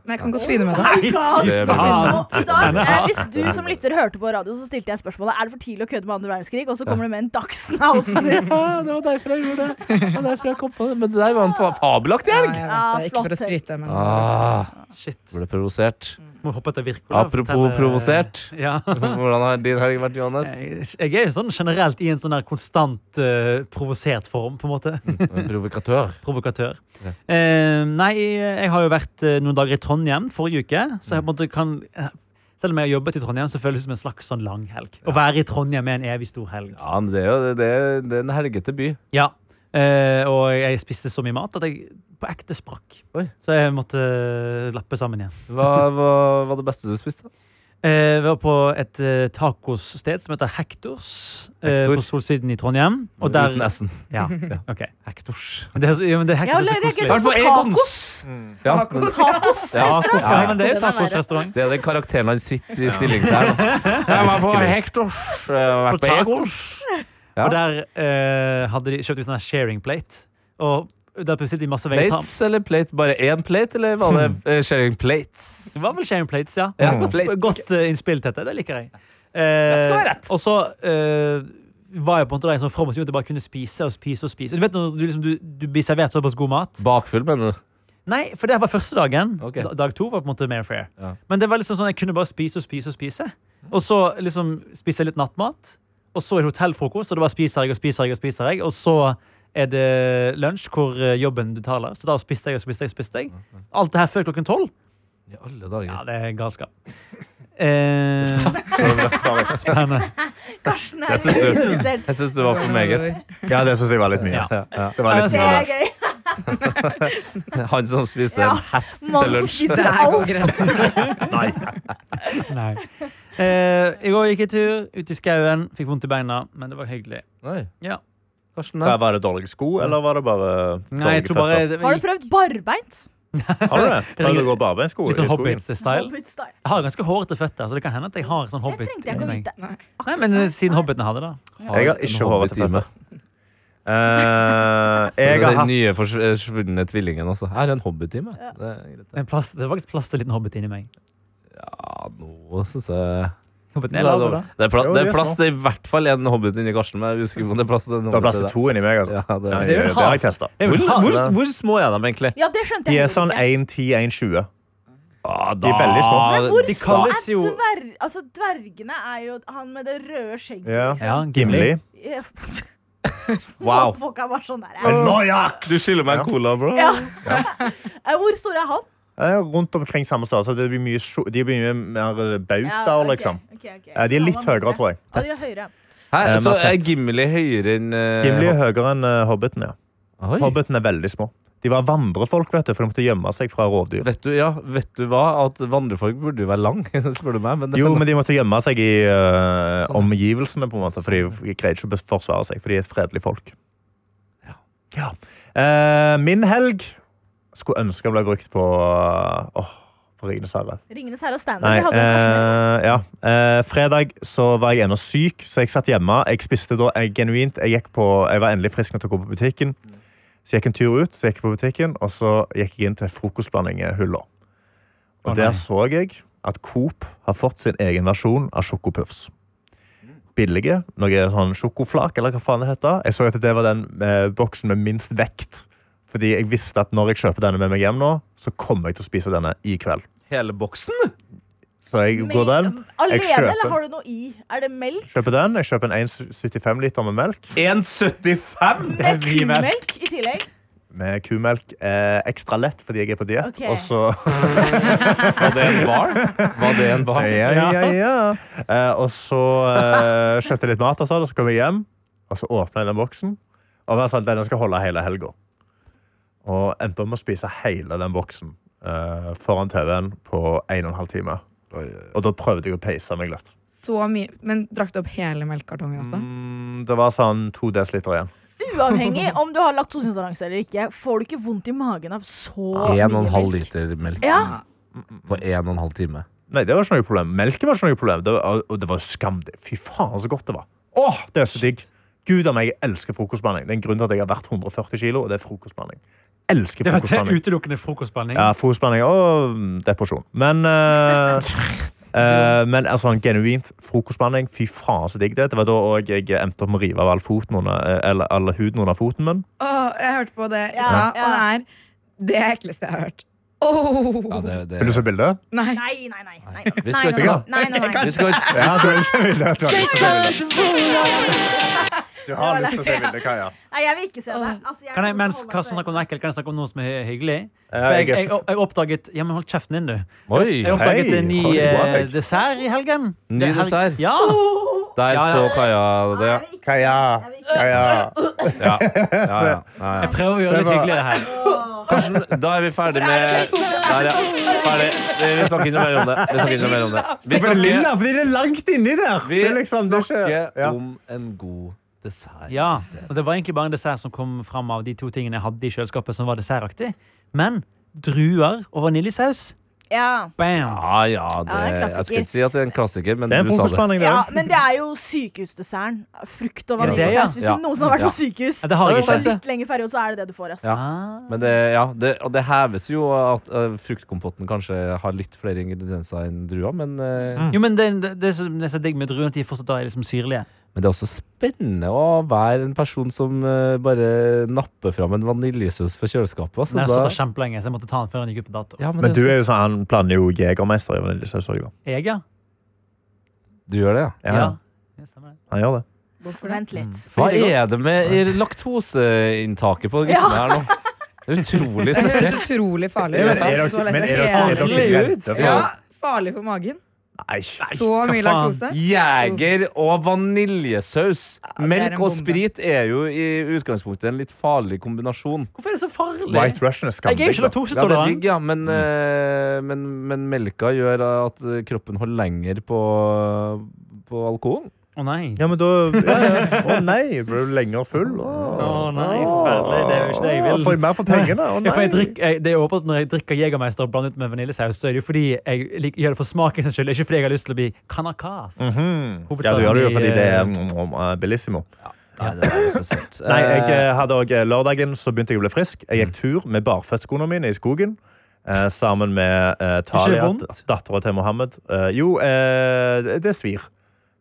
E: Men jeg kan godt begynne med det.
C: God,
B: Det er veldig
C: nå, I dag, eh, hvis du som lytter hørte på radio, så stilte jeg spørsmålet Er det for tidlig å kødde med andre verdenskrig, og så kommer det med en Dagsenhausen.
B: Ja, det var derfor jeg gjorde det. Det var derfor jeg kom på det. Men det der var en fa fabelaktig
E: Ja, jeg
B: helg!
E: vet
C: Ja,
E: det. Ikke for å
C: flott.
E: skryte, men
B: Ah,
H: Shit.
B: ble provosert.
H: Må hoppe etter Wirkola.
B: Apropos
H: fortelle-
B: provosert.
H: Ja.
B: Hvordan har din helg vært, Johannes?
H: Jeg jeg er jo sånn generelt i en sånn der konstant eh, provosert form, på en måte.
B: En provokatør.
H: Provokatør.
B: Ja.
H: Eh, nei, jeg har jo vært eh, noen dager i Trondheim forrige uke, så jeg
B: Mm.
H: på en måte kan eh, Selv om jeg har jobbet i Trondheim, så føles det som en slags sånn langhelg. Å være i Trondheim er en evig stor helg.
B: Ja, men det er jo det er, det er en helgete by.
H: Ja. Eh, og jeg spiste så mye mat at jeg på ekte sprakk.
B: Oi.
H: Så jeg måtte eh, lappe sammen igjen.
B: Hva var var det beste du spiste?
H: Eh, vi var på et eh, tacossted som heter Hektors, eh,
B: Hector. Mm,
H: på solsiden i Trondheim. Og der,
B: Uten S-en.
H: ja, ok.
B: Hektors.
H: Men Det er, så- ja, men det er
C: Jeg har
H: Hektors er så
C: reagert
H: koselig.
C: på
B: Vært på Egons! Ja, men-
C: Tacos.
B: Ja,
H: Ja, men det er jo
C: Tacos.
H: tacosrestaurant.
B: det er den karakteren han sitter i stilling der. Jeg var på Hektors. Jeg har vært
H: På
B: på Egons. Ja.
H: Og der eh, hadde de kjøpt en sånn her sharing plate. Og der plutselig de masse vegetar...
B: Plates eller plate? Bare én plate, eller var det eh, sharing plates?
H: Det var vel sharing plates, ja.
B: Ja,
H: godt
B: plates.
H: godt eh, innspill, Tette. Det liker jeg. Eh,
B: skal være rett.
H: og så eh, var jeg på en måte der i en sånn form som gjorde at jeg bare kunne spise og spise og spise. Du vet når du, liksom, du, du blir servert såpass god mat?
B: Bakfull, mener du?
H: Nei, for det var første dagen.
B: Ok.
H: Da- Dag to var på en måte mer fair.
B: Ja.
H: Men det var liksom sånn, jeg kunne bare spise og spise og spise. Og så liksom spiste jeg litt nattmat. Og så er det hotellfrokost, og det bare spiser jeg og spiser jeg. Og spiser jeg. Og så er det lunsj, hvor eh, jobben betaler. Så da spiste jeg og spiste jeg. spiste jeg. Alt det her før klokken tolv.
B: I alle dager.
H: Ja, det er galskap. Eh, spennende.
C: Karsten er
G: Jeg synes det-
C: identifisert.
B: Jeg syns det var for meget.
G: Ja, det syns jeg var litt mye.
H: Ja.
G: Det var litt
C: Det
G: mye.
C: er
G: der.
C: gøy.
B: Han som spiser
C: Ja.
B: en hest til
C: Mannen som
B: lunsj.
C: spiser
E: Det her går
C: alt.
E: grensen.
H: Nei. Eh, I går gikk jeg tur ut i skauen. Fikk vondt i beina, men det var hyggelig.
B: Nei.
H: Ja.
B: Karsten,
G: Hva,
B: da?
G: Var det dårlige sko, eller var det bare
H: Nei, jeg
G: dårlige
H: tror bare
G: føtter?
H: det-
C: Har du prøvd barbeint?
G: Har du det? Prøvde du å gå på arbeidssko
H: Litt sånn
G: i skogen?
H: Hobbit-style.
C: Hobbit style.
H: Jeg har ganske hårete føtter, så det kan hende at jeg har sånn
C: Det
H: hobbit.
C: trengte jeg ikke å
H: inni meg.
C: vite.
H: Nei, men eh, siden hobbiten hadde det. da.
G: Jeg har
B: en
G: ikke håret til
B: hobbitime.
G: Eh, jeg
B: Den
G: har hatt
B: nye forsv- eh, forsvunne tvillingen også. Her er en hobbytime. Det er greit.
H: Det, er plass, det var faktisk plass til en liten hobbit inni meg.
B: Ja, nå syns jeg
H: Hobbiten
B: Det
H: er
B: er,
H: lav, da.
B: pla-
G: Jo,
B: det er
G: det er
B: plass
G: små.
B: til i hvert fall en hobbit inni Karsten. Men jeg husker ikke om det er plass til en
G: Det var plass til
B: hobbit
G: to inni meg,
B: til deg.
G: altså.
B: Ja, det
G: Nei,
B: er.
H: det er jo
G: det har jeg testa.
H: Det er
B: Hvor,
H: jo
B: hvor,
H: lav.
B: hvor små er de egentlig?
C: Ja, det skjønte
G: De
C: jeg
G: er sånn
C: heller ikke.
G: 1,10, 1,20.
B: Ah,
G: De er veldig små.
C: Men hvor
B: de
C: små
B: kalles
C: er
H: jo-
C: dverg... Altså, dvergene er jo han med det røde skjegget. liksom.
G: Ja.
H: Ja,
G: Gimli.
C: Ja.
B: Wow.
C: Folk er bare sånn der.
G: En Nojax!
B: Du skylder meg en cola, bro.
C: Ja. Eh, Hvor stor er han?
G: Ja, Rundt omkring samme størrelse. Det blir mye, sjo- de blir mye mer
C: Ja,
G: bauter,
C: ok,
G: liksom.
C: ok, ok.
G: Ja, de er litt
C: Han var mindre.
G: høyere, tror jeg.
C: Ja, de er høyere.
B: Hæ?
G: Eh,
B: Så er
G: Matt.
B: Gimli høyere enn eh,
G: Gimli er høyere enn eh, Hobbiten, ja.
B: Oi.
G: Hobbiten er veldig små. De var vandrefolk, vet du, for de måtte gjemme seg fra rovdyr.
B: Vet du, ja, vet du hva? At vandrefolk burde jo være lang, spør du meg. Men det,
G: Jo, men de måtte gjemme seg i eh,
B: Sånn, ja.
G: omgivelsene, på en måte, for de greide ikke å forsvare seg, for de er et fredelig folk. Ja. Eh, min helg skulle ønske den ble brukt på Åh, på Ringenes herre.
C: Ringenes herre og standup.
G: Nei,
C: det hadde jeg kanskje med.
G: eh, ja. Eh, fredag så var jeg ennå syk, så jeg satt hjemme. Jeg spiste da jeg, genuint. Jeg, gikk på, jeg var endelig frisk nok til å gå på butikken. Så jeg gikk en tur ut, så jeg gikk på butikken, og så gikk jeg inn til frokostblandinghylla. Og
H: Å, nei.
G: der så jeg at Coop har fått sin egen versjon av sjokopuffs. Billige. Noe sånn sjokoflak, eller hva faen det heter. Jeg så at det var den eh, boksen med minst vekt. Fordi jeg visste at når jeg kjøper denne med meg hjem nå, så kommer jeg til å spise denne i kveld.
B: hele boksen?
G: Så jeg går
C: Men-
G: den.
C: Alene,
G: kjøper-
C: eller har du noe i? Er det melk?
G: Kjøper den. Jeg kjøper en 1,75 liter med melk.
B: 1,75?
C: Med
H: mye melk.
C: kumelk i tillegg?
G: Med kumelk. Eh, ekstra lett fordi jeg er på diett.
C: Ok.
G: Og så
B: Var det en bar? Var det en bar?
G: ja, ja, ja. Eh, og så eh, kjøpte jeg litt mat, og så, og så kom jeg hjem. Og så åpna jeg den boksen. Og den sa at denne skal holde hele helga. Og endte opp med å spise hele den boksen eh, foran TV-en på 1 12 time. Og da prøvde jeg å peise meg litt.
E: Så mye. Men drakk du opp hele melkekartongen også?
G: Mm, det var sånn to desiliter igjen.
C: Uavhengig om du har laktoseintoleranse eller ikke, får du ikke vondt i magen av så mye
B: 1,5
C: melk.
B: liter melk
C: Ja,
B: på 1,5 time.
G: Nei, det var ikke noe problem. Melken var ikke noe problem. Det var, og det var skam. det. Fy faen, så godt det var. Åh, det er så digg. Gud av meg, jeg elsker frokostblanding. Det er en grunn til at jeg har vært 140 kilo, og det er frokostblanding. Elsker
H: Det var det
G: frokostblanding.
H: utelukkende frokostblanding.
G: Ja, frokostblanding og mm, depresjon. Men, eh, eh, men altså, en genuint frokostblanding, fy faen så digg det. er. Det var da også jeg endte opp med å rive av all, foten under, eh, eller, all huden under foten min.
E: Åh, jeg hørte på det i
C: Ja,
E: stad,
C: ja.
E: og det er det ekleste jeg har hørt. Åh
B: Ja, det, det,
G: Vil du se bildet?
E: Nei.
C: Nei, nei, nei. nei.
B: Vi skal
C: Nei,
B: ikke
C: nei, nei, nei, nei.
B: vi skal ikke
G: Ja, du vil se bildet. Du har lyst til å se bildet. Du har lyst til å se bildet, Kaja.
C: Nei, jeg vil ikke se det. Altså, jeg
H: Kan jeg, mens
C: holde meg
H: Karsten
C: på det.
H: snakker om noe ekkelt, kan jeg snakke om noe som er hyggelig?
G: Ja,
H: jeg,
G: jeg er
H: jeg,
G: ikke-
H: jeg oppdaget Ja, men hold kjeften din, du.
B: Oi!
H: Jeg oppdaget
G: Hei,
H: en ny
G: oi,
H: eh,
G: wow.
H: dessert i helgen.
B: Ny
H: Det er helg-
B: dessert?
H: Ja.
B: Der
H: Ja, ja.
B: så Kaja det.
C: Nei, jeg vil ikke-
G: Kaja.
C: jeg vil ikke-
G: Kaja.
B: Ja. Ja, ja, ja, ja.
H: Jeg prøver å gjøre det litt
G: Se hva-
H: hyggeligere her.
B: Karsten, da er vi ferdig med Der, ja. Ferdig. Vi snakker ikke noe mer om det. Vi snakker ikke noe mer om det. Vi
G: Hvorfor er det lilla?
B: snakker,
G: Fordi det er langt inni der.
B: vi
G: det er liksom, det er ikke-
B: snakker
G: ja.
B: om en god dessert.
H: Ja,
B: i stedet.
H: og Det var egentlig bare en dessert som kom fram av de to tingene jeg hadde i kjøleskapet. som var dessertaktig. Men druer og vaniljesaus.
C: Ja.
H: Bam!
B: Ja, ja, det,
C: Ja, en klassiker.
B: jeg skal ikke si at det er en klassiker, men
G: Det er en
B: du sa det.
G: frokostblanding, det
C: ja,
G: også.
C: men det er jo sykehusdesserten. Frukt og
H: Ja, det, ja.
C: vaniljesaus. Hvis
B: Ja.
C: du noensinne har vært på
B: Ja.
C: sykehus,
H: Ja, det har jeg ikke
C: over en
H: sett.
C: litt lengre periode, så er det det du får. ass.
H: Ah.
B: Men det, ja, det, og det heves jo at eh, fruktkompotten kanskje har litt flere ingredienser enn drua, men eh,
G: Mm.
H: Jo, men det, det, det, som er så digg med druer, at de fortsatt da er liksom syrlige.
B: Men det er også spennende å være en person som eh, bare napper fram en vaniljesaus fra kjøleskapet. Altså,
H: Den har stått der
B: da,
H: kjempelenge, så jeg måtte ta den før den gikk ut på dato.
B: ja, men
G: Men
B: det
G: du
B: er,
G: er jo sånn, han blander jo jegermester i vaniljesaus òg, da.
H: Jeg, ja.
B: du gjør det, ja.
G: Ja,
H: Ja. Det stemmer det.
G: Han gjør det.
E: Hvorfor det?
C: Vent litt.
B: Hva er det med i laktoseinntaket på guttene
C: Ja.
B: her nå? Det er utrolig
E: Det høres
B: spesielt.
E: utrolig farlig
G: Men
E: ut.
G: er dere,
E: Toalettet
G: men er
E: er
G: dere, er dere
B: Helt
G: redde for
E: Ja, farlig for magen.
G: Nei.
E: Så
H: hva
E: mye
H: faen?
E: laktose.
B: Jeger og vaniljesaus.
E: er
B: Melk
E: en
B: og
E: bombe.
B: sprit er jo i utgangspunktet en litt farlig kombinasjon.
H: Hvorfor er det så farlig?
G: White Russian er
H: jeg er jo
G: skamdigg.
H: ikke
G: da.
B: Ja, det er digg,
H: laktosetolerant.
B: ja, men, eh, men, men melka gjør at eh, kroppen holder lenger på, på alkohol.
H: Å nei.
G: Ja, men da ja, ja. Å nei, blir du lenger full? Å
H: Å nei, forferdelig. Det er jo ikke det jeg
G: Å, Får
H: vil.
G: jeg mer for pengene? Å
H: Ja, for jeg
G: nei.
H: drikk- jeg, det er åpenbart Når jeg drikker Jegermeister og blander ut med vaniljesaus, så er det jo fordi jeg lik, gjør det for smaken sin skyld, ikke fordi jeg har lyst til å bli kanakas.
G: Mhm. Ja,
H: Hovedstaden
G: du gjør det jo
H: i,
G: fordi det er
H: eh,
G: mm, mm, eh, bellissimo.
B: Nei, det er spesielt.
G: Nei, jeg
B: Eh,
G: eh, hadde også, eh, Lørdagen så begynte jeg å bli frisk. Jeg gikk tur med barføttskoene mine i skogen. Eh, sammen med eh, Talia,
H: vondt?
G: dattera til Mohammed. Eh, jo, eh, det- det svir.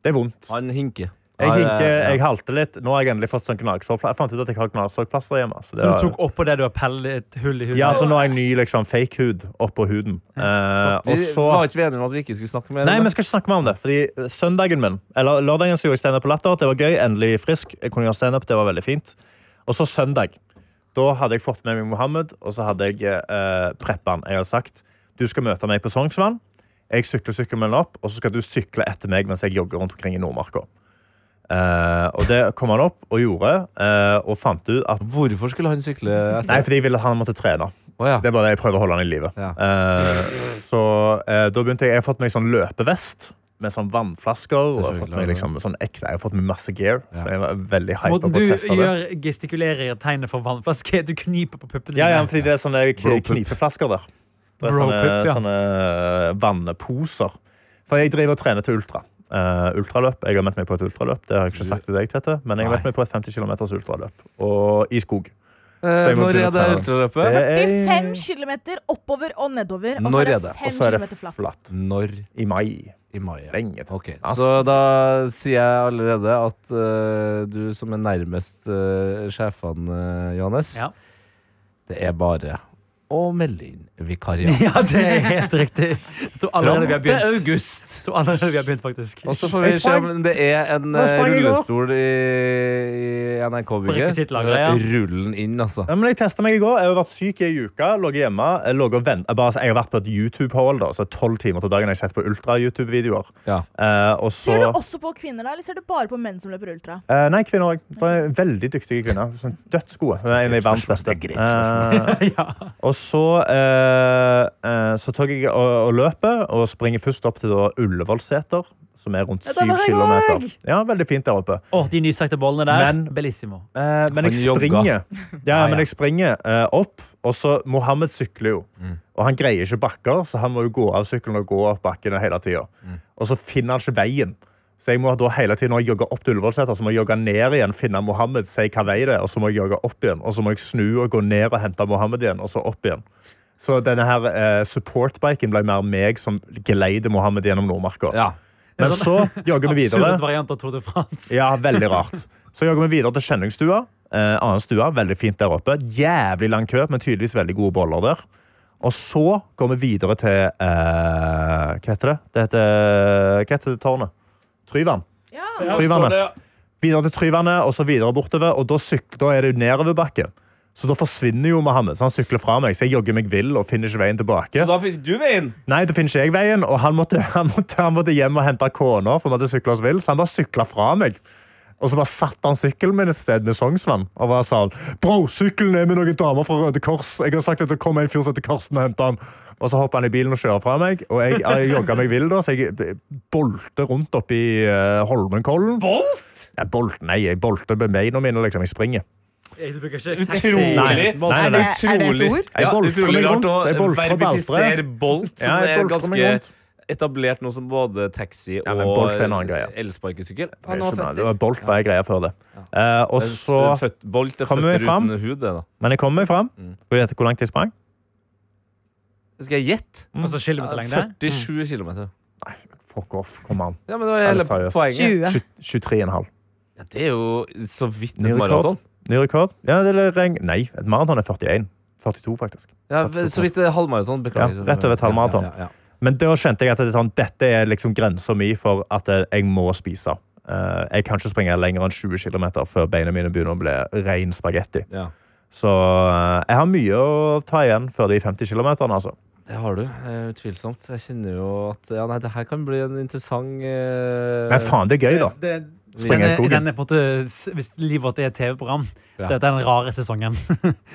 G: Det er vondt.
B: Eh, Han hinker.
G: Jeg
B: Ja, det-
G: hinker,
B: ja.
G: jeg halter litt. Nå har jeg endelig fått sånn gnagsårplaster. Jeg fant ut at jeg har gnagsårplaster hjemme. Så
H: Så
G: det
H: du
G: var-
H: tok oppå det du har pellet hull i huden?
G: ja, så nå har jeg ny liksom, fake hud oppå huden. Eh, og
B: Vi
G: så
B: var ikke vi enige om at vi ikke skulle snakke mer
G: Nei,
B: om
G: vi
B: det?
G: skal ikke snakke mer om det. Fordi eh, søndagen min, eller lørdagen så gjorde jeg stand-up på latter. Det var gøy, endelig frisk. Jeg kunne gjøre stand-up, det var veldig fint. Og så søndag. Da hadde jeg fått med meg Mohammed, og så hadde jeg eh, preppa han. Jeg hadde sagt du skal møte meg på Sognsvann. Jeg sykler sykkelen opp, og så skal du sykle etter meg mens jeg jogger rundt omkring i Nordmarka. Eh, og det kom han opp og gjorde, eh, og fant ut at
B: Hvorfor skulle han sykle etter?
G: Nei, fordi jeg ville at han måtte trene.
B: Å, ja.
G: Det er bare det jeg prøver å holde han i live.
B: Ja.
G: Eh, så eh, da begynte jeg Jeg har fått meg sånn løpevest med sånn vannflasker. Og jeg, har fått meg
B: Selvfølgelig.
G: liksom, sånn ekte, jeg har fått meg masse gear. Så jeg var veldig hypa
H: Måten
G: på
H: du
G: å teste det.
H: gjør gestikulerer tegnet for vannflaske, du kniper på puppene
G: Ja, ja,
H: dine.
G: fordi det er sånne k- knipeflasker der. Det er
H: Bro
G: sånne,
H: pup, ja.
G: sånne eh, vannposer. For jeg driver og trener til ultra. Eh, ultraløp. Jeg har meldt meg på et ultraløp. Det har jeg ikke sagt til deg, Tete. Men jeg har meldt meg på et 50 km ultraløp. Og i skog.
B: Eh,
G: Så jeg må
B: Når er
G: begynne å
B: det
G: trene.
B: ultraløpet?
G: Det er-
C: 45 km oppover og nedover. Og så
B: Når
C: er
B: er
C: det
B: det?
C: 5
G: Og så Eh. er det
C: km flatt.
G: flatt.
B: Når
G: I mai.
B: i mai? ja.
G: Lenge til.
B: Ok,
G: Ass.
B: Så da sier jeg allerede at eh, du som er nærmest eh, sjefene, eh, Johannes,
H: Ja.
B: det er bare å melde inn vikariat.
H: Ja, det er helt riktig. Jeg tror allerede vi har
B: Fram til
H: begynt.
B: august.
H: Jeg tror allerede vi har begynt, faktisk.
B: Og så får vi
G: Jeg
B: se
G: sprang.
B: om det er en
G: Jeg
B: eh,
G: sprang i går.
B: rullestol i, i NRK-bygget.
H: rekvisittlageret, ja.
B: Rullen inn, altså.
G: Ja, men jeg testet meg i går. Jeg har vært syk i ei uke. Lå hjemme. Jeg, lå og vent- jeg, bare, jeg har vært på et YouTube-hold, da, så tolv timer til dagen. Jeg har sett på ultra-YouTube-videoer.
B: Ja.
G: Eh, og så
C: Ser du også på kvinner, da, eller ser du bare på menn som løper ultra?
G: Eh, Nei, kvinner òg. Det er Veldig dyktige kvinner. Sånn dødsgode. Det er en av de verdens beste. Eh,
H: Ja.
G: og så eh, eh, Så tok jeg og, og løper, og springer først opp til da Ullevålseter, som er rundt
C: Ja, der
G: syv
C: var jeg
G: kilometer. Ja, veldig fint der oppe.
H: Å, de nysakte bollene der.
G: Men-
H: Bellissimo.
G: Eh, men
B: Han
G: jeg springer,
B: jogger. Ah,
G: ja,
H: ja.
G: men jeg springer eh, opp, og så Mohammed sykler jo.
B: Mm.
G: Og han greier ikke bakker, så han må jo gå av sykkelen og gå opp bakkene hele tida.
B: Mm.
G: Og så finner han ikke veien. Så jeg må da hele tiden, når jeg jogger opp til Ullevålseter, så må jeg jogge ned igjen, finne Mohammed, si hva vei det er, og så må jeg jogge opp igjen. Og så må jeg snu og gå ned og hente Mohammed igjen, og så opp igjen. Så denne her eh, supportbiken ble mer meg som geleider Mohammed gjennom Nordmarka.
B: Ja. sånn
G: Men så jogger vi videre.
H: Absurd variant av Tour de France.
G: Ja, veldig rart. Så jogger vi videre til Skjenningstua. Eh, annen stua, veldig fint der oppe. Jævlig lang kø, men tydeligvis veldig gode boller der. Og så går vi videre til eh, Hva heter det? Det heter, hva heter det tårnet? Tryvann.
C: Ja.
G: Tryvannet. Videre til Tryvannet, og så videre bortover. Og da, syk, da er det jo nedoverbakke. Så da forsvinner jo Mohammed. Så han sykler fra meg, så jeg jogger meg vill og finner ikke veien tilbake.
B: Da fikk du veien!
G: Nei, da finner ikke jeg veien, og han måtte, han måtte, han måtte hjem og hente kona, for vi hadde syklet oss vill, så han bare syklet fra meg. Og så bare satt han sykkelen min et sted med Sognsvann, og bare sa han, «Bro, sykkelen er med noen damer fra Røde Kors. Jeg har sagt at det kommer en fyr som heter Karsten og henter han.» Og så hoppet han i bilen og kjører fra meg, og jeg, jeg jogget meg vill da, så jeg b- bolte rundt opp i eh, Holmenkollen. Bolt? Jeg bolt, nei, jeg bolte med beina mine, liksom, jeg springer.
H: Jeg bruker ikke taxi.
B: Utrolig!
G: Nei, nei, nei.
E: Er det et ord?
G: Jeg
B: Ja,
G: boltrer
B: utrolig
G: meg
B: rart
G: rundt.
B: å
G: Jeg boltrer på
B: verifisere
G: balltre.
B: Bolt, som
G: Ja, jeg
B: er
G: boltrer meg
B: ganske
G: rundt.
B: etablert nå som både taxi
G: Ja,
B: og
G: men Bolt er en annen greie.
B: elsparkesykkel.
E: Han har
G: Skjønner,
E: føtter.
G: Det var bolt hva jeg greia før det. Eh, og så...
B: Født- Bolt er
G: Kommer vi
B: føtter
G: fram?
B: uten hud, det, da.
G: Men jeg kommer meg fram. Skal du gjette hvor langt jeg sprang?
B: Skal jeg gjette?
H: Og så kilometerlengde.
B: 47 km.
G: Mm. Fuck off. Kom an.
B: Ja, men det var hele
G: Helt seriøst.
B: poenget.
E: 20.
G: 23,5.
B: Ja, det er jo så vidt
G: Ny
B: et
G: rekord.
B: maraton.
G: Ny rekord? Ja, det er reng... Nei, et maraton er 41. 42, faktisk.
B: Ja, så vidt et halvmaraton. Beklager.
G: Ja, rett over et halvmaraton.
B: Ja, ja, ja.
G: Men da skjønte jeg at det er sånn, dette er liksom grensa mi for at eh, jeg må spise. Eh, jeg kan ikke springe lenger enn 20 km før beina mine begynner å bli ren spagetti.
B: Ja.
G: Så eh, jeg har mye å ta igjen før de 50 km, altså.
B: Det har du. Det er Utvilsomt. Jeg kjenner jo at ja, nei, det her kan bli en interessant eh,
G: Men faen, det er gøy, da.
H: Mm. Det,
G: Springe i
H: denne,
G: skogen.
H: denne på en måte, s- hvis livet vårt er et TV-program,
B: Ja.
H: så er det den rare sesongen.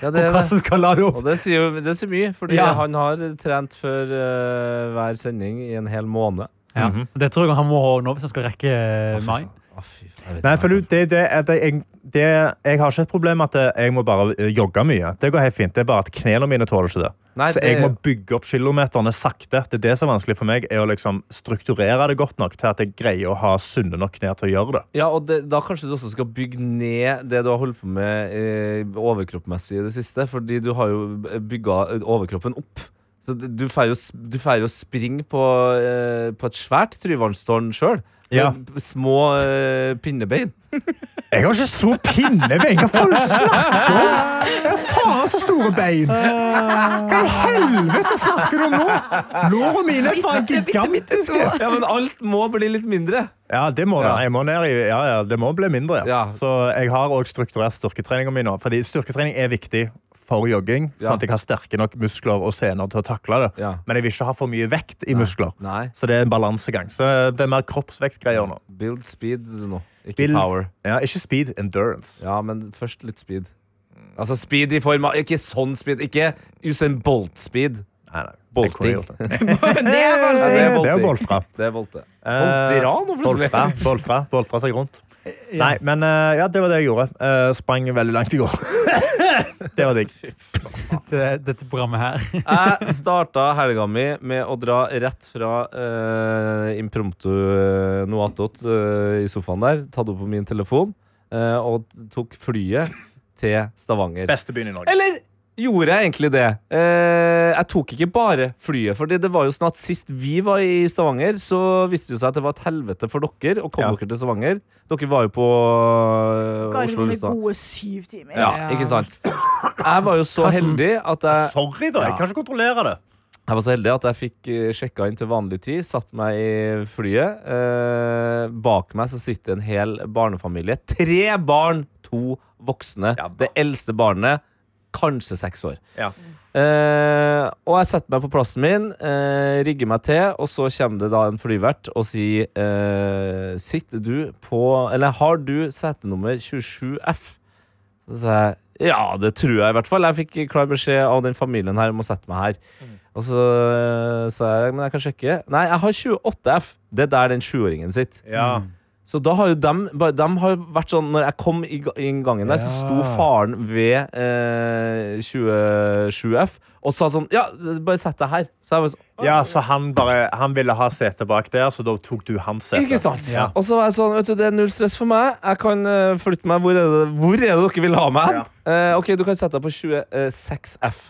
B: ja, det,
H: Og
B: er
H: hva
B: det.
H: som skal lade opp.
B: Og det sier, jo- det sier mye, fordi
H: Ja.
B: han har trent før eh, hver sending i en hel måned.
H: Ja.
G: Mhm.
H: Det tror jeg han må nå hvis han skal rekke Eh, mai.
B: Å, fy faen. Jeg vet
G: Nei,
B: ikke.
G: for du, det, det, at jeg, det, jeg har ikke et problem med at jeg må bare eh, jogge mye. Det går helt fint. Det er bare at knærne mine tåler ikke det.
B: Nei,
G: Så
B: det-
G: jeg må bygge opp kilometerne sakte. Det er det som er vanskelig for meg, er å liksom strukturere det godt nok til at jeg greier å ha sunne nok knær til å gjøre det.
B: Ja, og det, Da kanskje du også skal bygge ned det du har holdt på med eh, overkroppmessig i det siste. Fordi du har jo bygga overkroppen opp. Så det- du får jo, s- du får jo springe på, eh, på et svært tryvannstårn sjøl.
G: Ja.
B: Små eh, pinnebein.
G: Jeg har ikke så pinnebein! Hva faen snakker du om? Jeg har faen så store bein! Hva i helvete snakker du om nå? Lårene mine er faen gigantiske!
B: Ja, Men alt må bli litt mindre.
G: Ja, det må det.
B: Ja.
G: Jeg må ned i, ja, ja, det må bli mindre. Ja.
B: Ja.
G: Så jeg har òg strukturert styrketreninga mi nå. Fordi styrketrening er viktig for jogging, sånn
B: Ja.
G: at jeg har sterke nok muskler og sener til å takle det.
B: Ja.
G: Men jeg vil ikke ha for mye vekt i muskler.
B: Nei.
G: Så det er en balansegang. Så det er mer kroppsvektgreier nå.
B: Build speed nå, ikke
G: Build-
B: power.
G: Ja, ikke speed, endurance.
B: Ja, men først litt speed. Altså speed i form av Ikke sånn speed. Ikke Usain Bolt-speed.
G: Nei, nei.
B: Bolting.
G: Jeg kunne gjort det.
E: Det er
G: Ja,
E: voldelig.
G: det er-
B: bolting.
G: det er boltra.
B: Det er volte.
G: Eh,
B: Boltira nå, for å si det.
G: Boltra, boltra, boltra seg rundt. Nei, men eh, ja, det var det jeg gjorde. Eh, sprang veldig langt i går. det var digg.
H: Dette, dette programmet her.
B: Jeg starta helga mi med å dra rett fra eh, impromptu eh, noe attåt eh, i sofaen der. Tatt opp på min telefon eh, og tok flyet til Stavanger.
G: Beste byen i Norge.
B: Eller gjorde jeg egentlig det? Eh, jeg tok ikke bare flyet, for det var jo sånn at sist vi var i Stavanger, så viste det seg at det var et helvete for dere å komme
G: Ja.
B: dere til Stavanger. Dere var jo på eh, Oslo
C: Garvene
B: Lufthavn.
C: liksom gode syv timer.
B: Ja, ikke sant? Jeg var jo så heldig at jeg
G: Sorry, da. Jeg kan ikke kontrollere det.
B: Jeg var så heldig at jeg fikk eh, sjekka inn til vanlig tid, satt meg i flyet. Eh, bak meg så sitter en hel barnefamilie. Tre barn, to voksne.
G: Ja da.
B: det eldste barnet kanskje seks år.
G: Ja.
B: Eh, og jeg setter meg på plassen min, eh, rigger meg til, og så kommer det da en flyvert og sier eh, Sitter du på Eller har du setenummer 27F? Så sa jeg ja, det tror jeg i hvert fall. Jeg fikk klar beskjed av den familien her om å sette meg her. Og så øh, sa jeg men jeg kan sjekke. Nei, jeg har 28F. Det er der den sjuåringen sitter.
G: Ja.
B: Så da har jo dem, bare- dem har jo vært sånn Når jeg kom i ga- inn gangen der, så sto faren ved eh, 27F og sa sånn Ja, bare sett deg her. Så jeg var sånn
G: Ja, så han, bare, han ville ha sete bak der, så da tok du hans sete.
B: Ikke sant?
G: Ja.
B: Og så var jeg sånn, vet du, det er null stress for meg. Jeg kan eh, flytte meg. Hvor er det, hvor er det dere vil ha meg? hen? Eh, ok, du kan sette deg på 26F.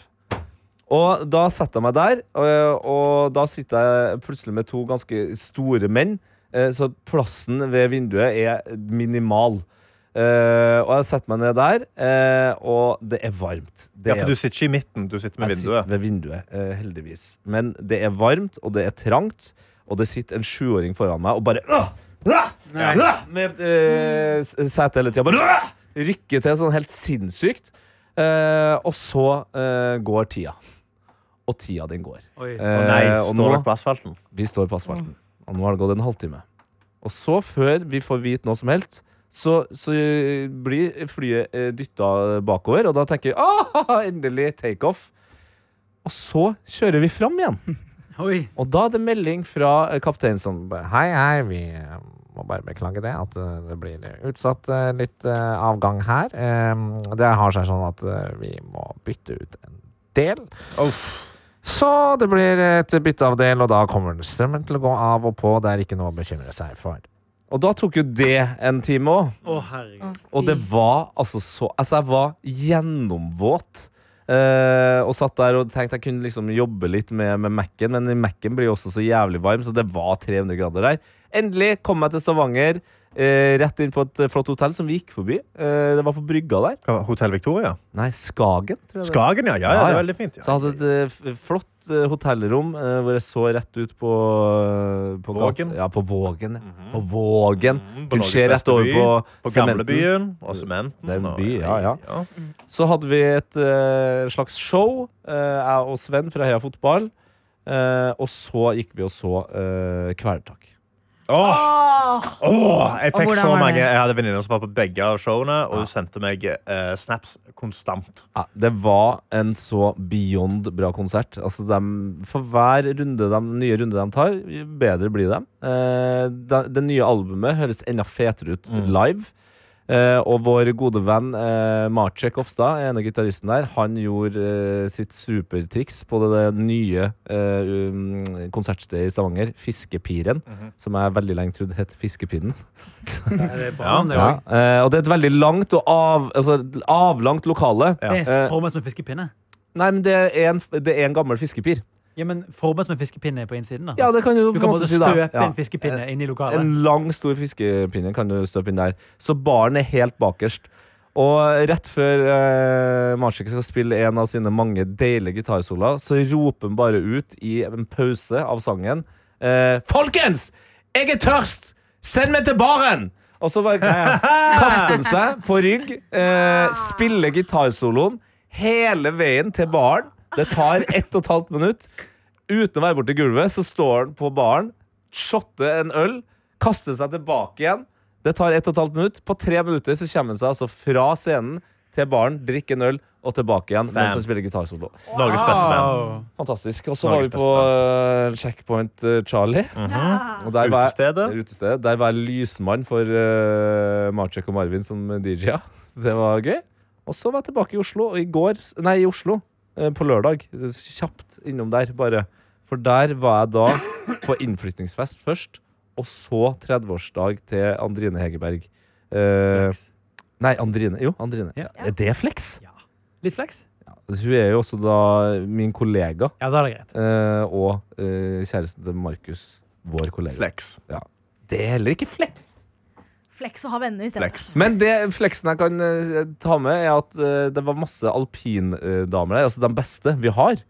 B: Og da setter jeg meg der, og, og da sitter jeg plutselig med to ganske store menn. eh, så plassen ved vinduet er minimal. Eh, og jeg setter meg ned der, eh, og det er varmt. Det
G: Ja, for
B: er
G: du sitter ikke i midten, du sitter med
B: jeg
G: vinduet.
B: sitter ved vinduet, eh, heldigvis. Men det er varmt, og det er trangt, og det sitter en sjuåring foran meg og bare «Åh! Åh! Åh!» Med eh, s- sete hele tida. Bare «Åh!» rykker til sånn helt sinnssykt. Eh, og så eh, går tida. Og tida den går.
H: Oi.
B: Eh,
G: Å nei,
B: og
G: står
B: nå-
G: dere på asfalten?
B: vi står på asfalten, og nå har det gått en halvtime. Og så, før vi får vite noe som helst, så, så eh, blir flyet eh, dytta bakover, og da tenker vi ah, endelig takeoff. Og så kjører vi fram igjen.
H: Oi.
B: Og da er det melding fra eh, kapteinen som bare Hei, hei, vi eh, må bare beklage det. At eh, det blir eh, utsatt eh, litt eh, avgang her. Eh, Det har seg sånn at eh, vi må bytte ut en del. Så det blir et bytte av del, og da kommer strømmen til å gå av og på. Det er ikke noe å bekymre seg for. Og da tok jo det en time òg.
H: Å, herregud.
B: Og det var altså så Altså, jeg var gjennomvåt. Eh, og satt der og tenkte jeg kunne liksom jobbe litt med, med Mac-en, men Mac-en blir jo også så jævlig varm, så det var 300 grader der. Endelig kom jeg til Stavanger. eh, rett inn på et eh, flott hotell som vi gikk forbi. Eh, det var på brygga der.
G: Hotell Victoria?
B: Nei, Skagen, tror jeg det
G: Skagen, ja. Ja, ja, det er veldig fint.
B: Så
G: Ja.
B: jeg hadde et eh, f- flott eh, hotellrom eh, hvor jeg så rett ut på, eh, på gat-
G: Vågen. Mhm.
B: Ja, på Vågen. ja. På Vågen.
G: Mm, på
B: Kunne
G: Norges
B: se
G: beste
B: rett over
G: by,
B: på,
G: På
B: Sementen.
G: gamlebyen og sementen.
B: Det er en
G: og-
B: by, ja, ja.
G: ja.
B: Så hadde vi et eh, slags show, eh, jeg og Sven fra Heia Fotball. eh, og så gikk vi og så uh, Kvelertak.
G: Åh,
C: Åh,
G: åh, jeg
E: Og
G: fikk
E: hvordan
G: så
E: var det?
G: mange Jeg hadde venninner som var på begge av showene, og
B: Ja.
G: hun sendte meg eh, snaps konstant.
B: Ja, det var en så beyond bra konsert. Altså dem- for hver runde de, nye runde de tar, jo bedre blir de. Eh, da- det nye albumet høres enda fetere ut
H: Mm.
B: live. Eh, og vår gode venn eh, Marcek Ofstad, ene gitaristen der, han gjorde eh, sitt supertriks på det, det nye eh, um, konsertstedet i Stavanger, Fiskepiren,
H: Mhm.
B: som jeg veldig lenge trodde het Fiskepinnen.
H: Det er bra, det
B: Ja.
H: òg.
B: Eh, og det er et veldig langt og av, altså, avlangt lokale.
G: Ja.
H: Det
B: Eh,
H: er formet som en fiskepinne.
B: Nei, men det er en, det er en gammel fiskepir.
H: Ja, men formet som en fiskepinne på innsiden. da.
B: Ja, det kan du,
H: Du
B: på
H: kan
B: en
H: både
B: måte si da.
H: støpe
B: Ja.
H: en fiskepinne inn i lokalet.
B: En lang, stor fiskepinne kan du støpe inn der. Så baren er helt bakerst. Og rett før eh, Marcek skal spille en av sine mange deilige gitarsoloer, så roper han bare ut i en pause av sangen eh, Folkens! Jeg er tørst! Send meg til baren! Og så bare kaster han seg på rygg, eh, spiller gitarsoloen hele veien til baren. Det tar ett og et halvt minutt. Uten å være borti gulvet, så står han på baren, shotter en øl, kaster seg tilbake igjen. Det tar ett og et halvt minutt. På tre minutter så kommer han seg altså fra scenen til baren, drikker en øl og tilbake igjen mens han spiller gitarsolo.
G: Norges beste band.
H: Wow.
B: Fantastisk. Og så var
G: Norges
B: vi på eh, Checkpoint eh, Charlie. Og der var jeg-
G: Utestedet.
B: Utestedet. Der var jeg lysmann for uh, Marcek og Marvin som DJ-a. Det var gøy. Og så var jeg tilbake i Oslo og i går Nei, i Oslo. eh, På lørdag. Kjapt innom der, bare. For der var jeg da på innflytningsfest først, og så 30-årsdag til Andrine Hegerberg. Eh, nei, Andrine. Jo, Andrine.
H: Ja.
B: Er det flex?
H: Litt flex?
B: Hun er jo også da min kollega
H: Ja, da er det greit.
B: eh, og eh, kjæresten til Markus, vår kollega.
G: Flex.
B: Det er heller ikke flex.
C: Flex å ha venner. tenker jeg.
G: Flex.
B: Men det fleksen jeg kan eh, ta med, er at eh, det var masse alpindamer der. Altså de beste vi har.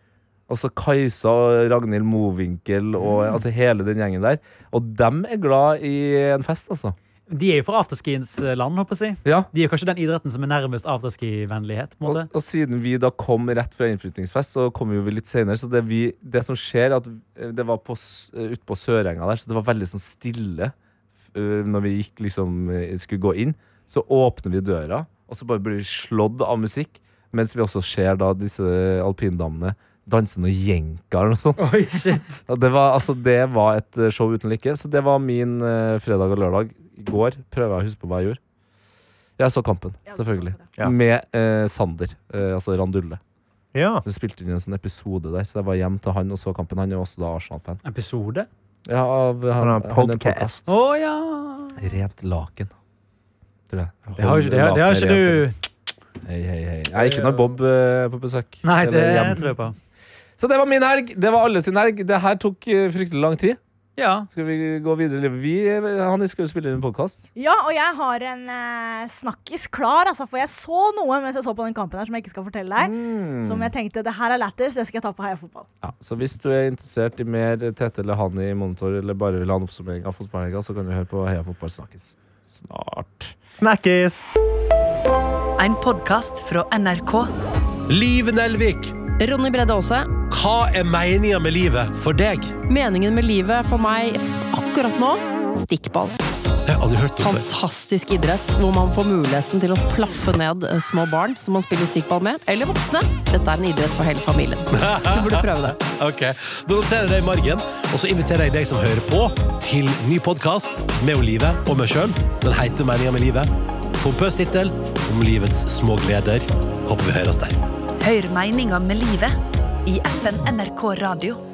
B: Altså Kajsa og Ragnhild Mowinckel og altså hele den gjengen der. Og dem er glad i en fest, altså.
H: De er jo fra afterskiens eh, land, håper jeg å si.
B: Ja.
H: De er jo kanskje den idretten som er nærmest afterski-vennlighet. på en
B: Og,
H: måte.
B: og siden vi da kom rett fra innflytningsfest, så kom vi jo litt senere. Så det, vi, det som skjer, er at eh, det var på, s- eh, ute på Sørenga der, så det var veldig sånn stille f- eh, når vi gikk liksom eh, skulle gå inn. Så åpner vi døra, og så bare blir vi slått av musikk. Mens vi også ser da disse alpindamene danse noe jenka eller noe sånt.
H: Oi, shit.
B: Og det, var, altså, det var et eh, show uten like. Så det var min eh, fredag og lørdag i går. Prøver jeg å huske på hva jeg gjorde. Jeg så Kampen,
C: Ja,
B: selvfølgelig.
G: Ja.
B: Med eh, Sander, eh, altså Randulle.
G: Ja.
B: Vi spilte inn en sånn episode der, så jeg var hjem til han og så kampen. Han er også da Arsenal-fan.
H: Episode?
B: Ja, av han,
G: Han har
B: han, er en
G: en podcast.
B: podcast.
H: Å ja.
B: Rent laken. Tror jeg.
H: Det har jo ikke, det har, det har ikke du.
B: Hei, hei, hei. Jeg er ikke når Bob eh, er på besøk.
H: Nei, det
B: Eller hjem.
H: tror jeg på.
B: Så det var min helg. Det var alle sin helg. Det her tok eh, fryktelig lang tid.
H: Ja.
B: Skal vi gå videre i livet? Vi, eh, han skal jo spille inn en podkast.
C: Ja, og jeg har en eh, snakkis klar, altså, for jeg så noe mens jeg så på den kampen her som jeg ikke skal fortelle deg. Som jeg tenkte det her er lættis, det skal jeg ta på Heia Fotball.
B: Ja, så hvis du er interessert i mer Tete eller Hani i monitor, eller bare vil ha en oppsummering av fotballhelga, så kan du høre på Heia Fotball snakkes snart.
G: Snakkes!
I: En podkast fra NRK.
J: Liv Nelvik,
I: Ronny Bredde Aase.
J: hva er meningen med livet for deg?
I: Meningen med livet for meg f- akkurat nå stikkball.
J: Det har jeg aldri hørt om før.
I: Fantastisk idrett hvor man får muligheten til å plaffe ned eh, små barn som man spiller stikkball med, eller voksne. Dette er en idrett for hele familien. Du burde prøve det.
J: Ok, Da noterer jeg det i margen, og så inviterer jeg deg som hører på, til ny podkast med Olive og meg sjøl. Den heter Meningen med livet. Pompøs tittel om livets små gleder. Håper vi høres der.
K: Hør meninga med livet i appen NRK Radio.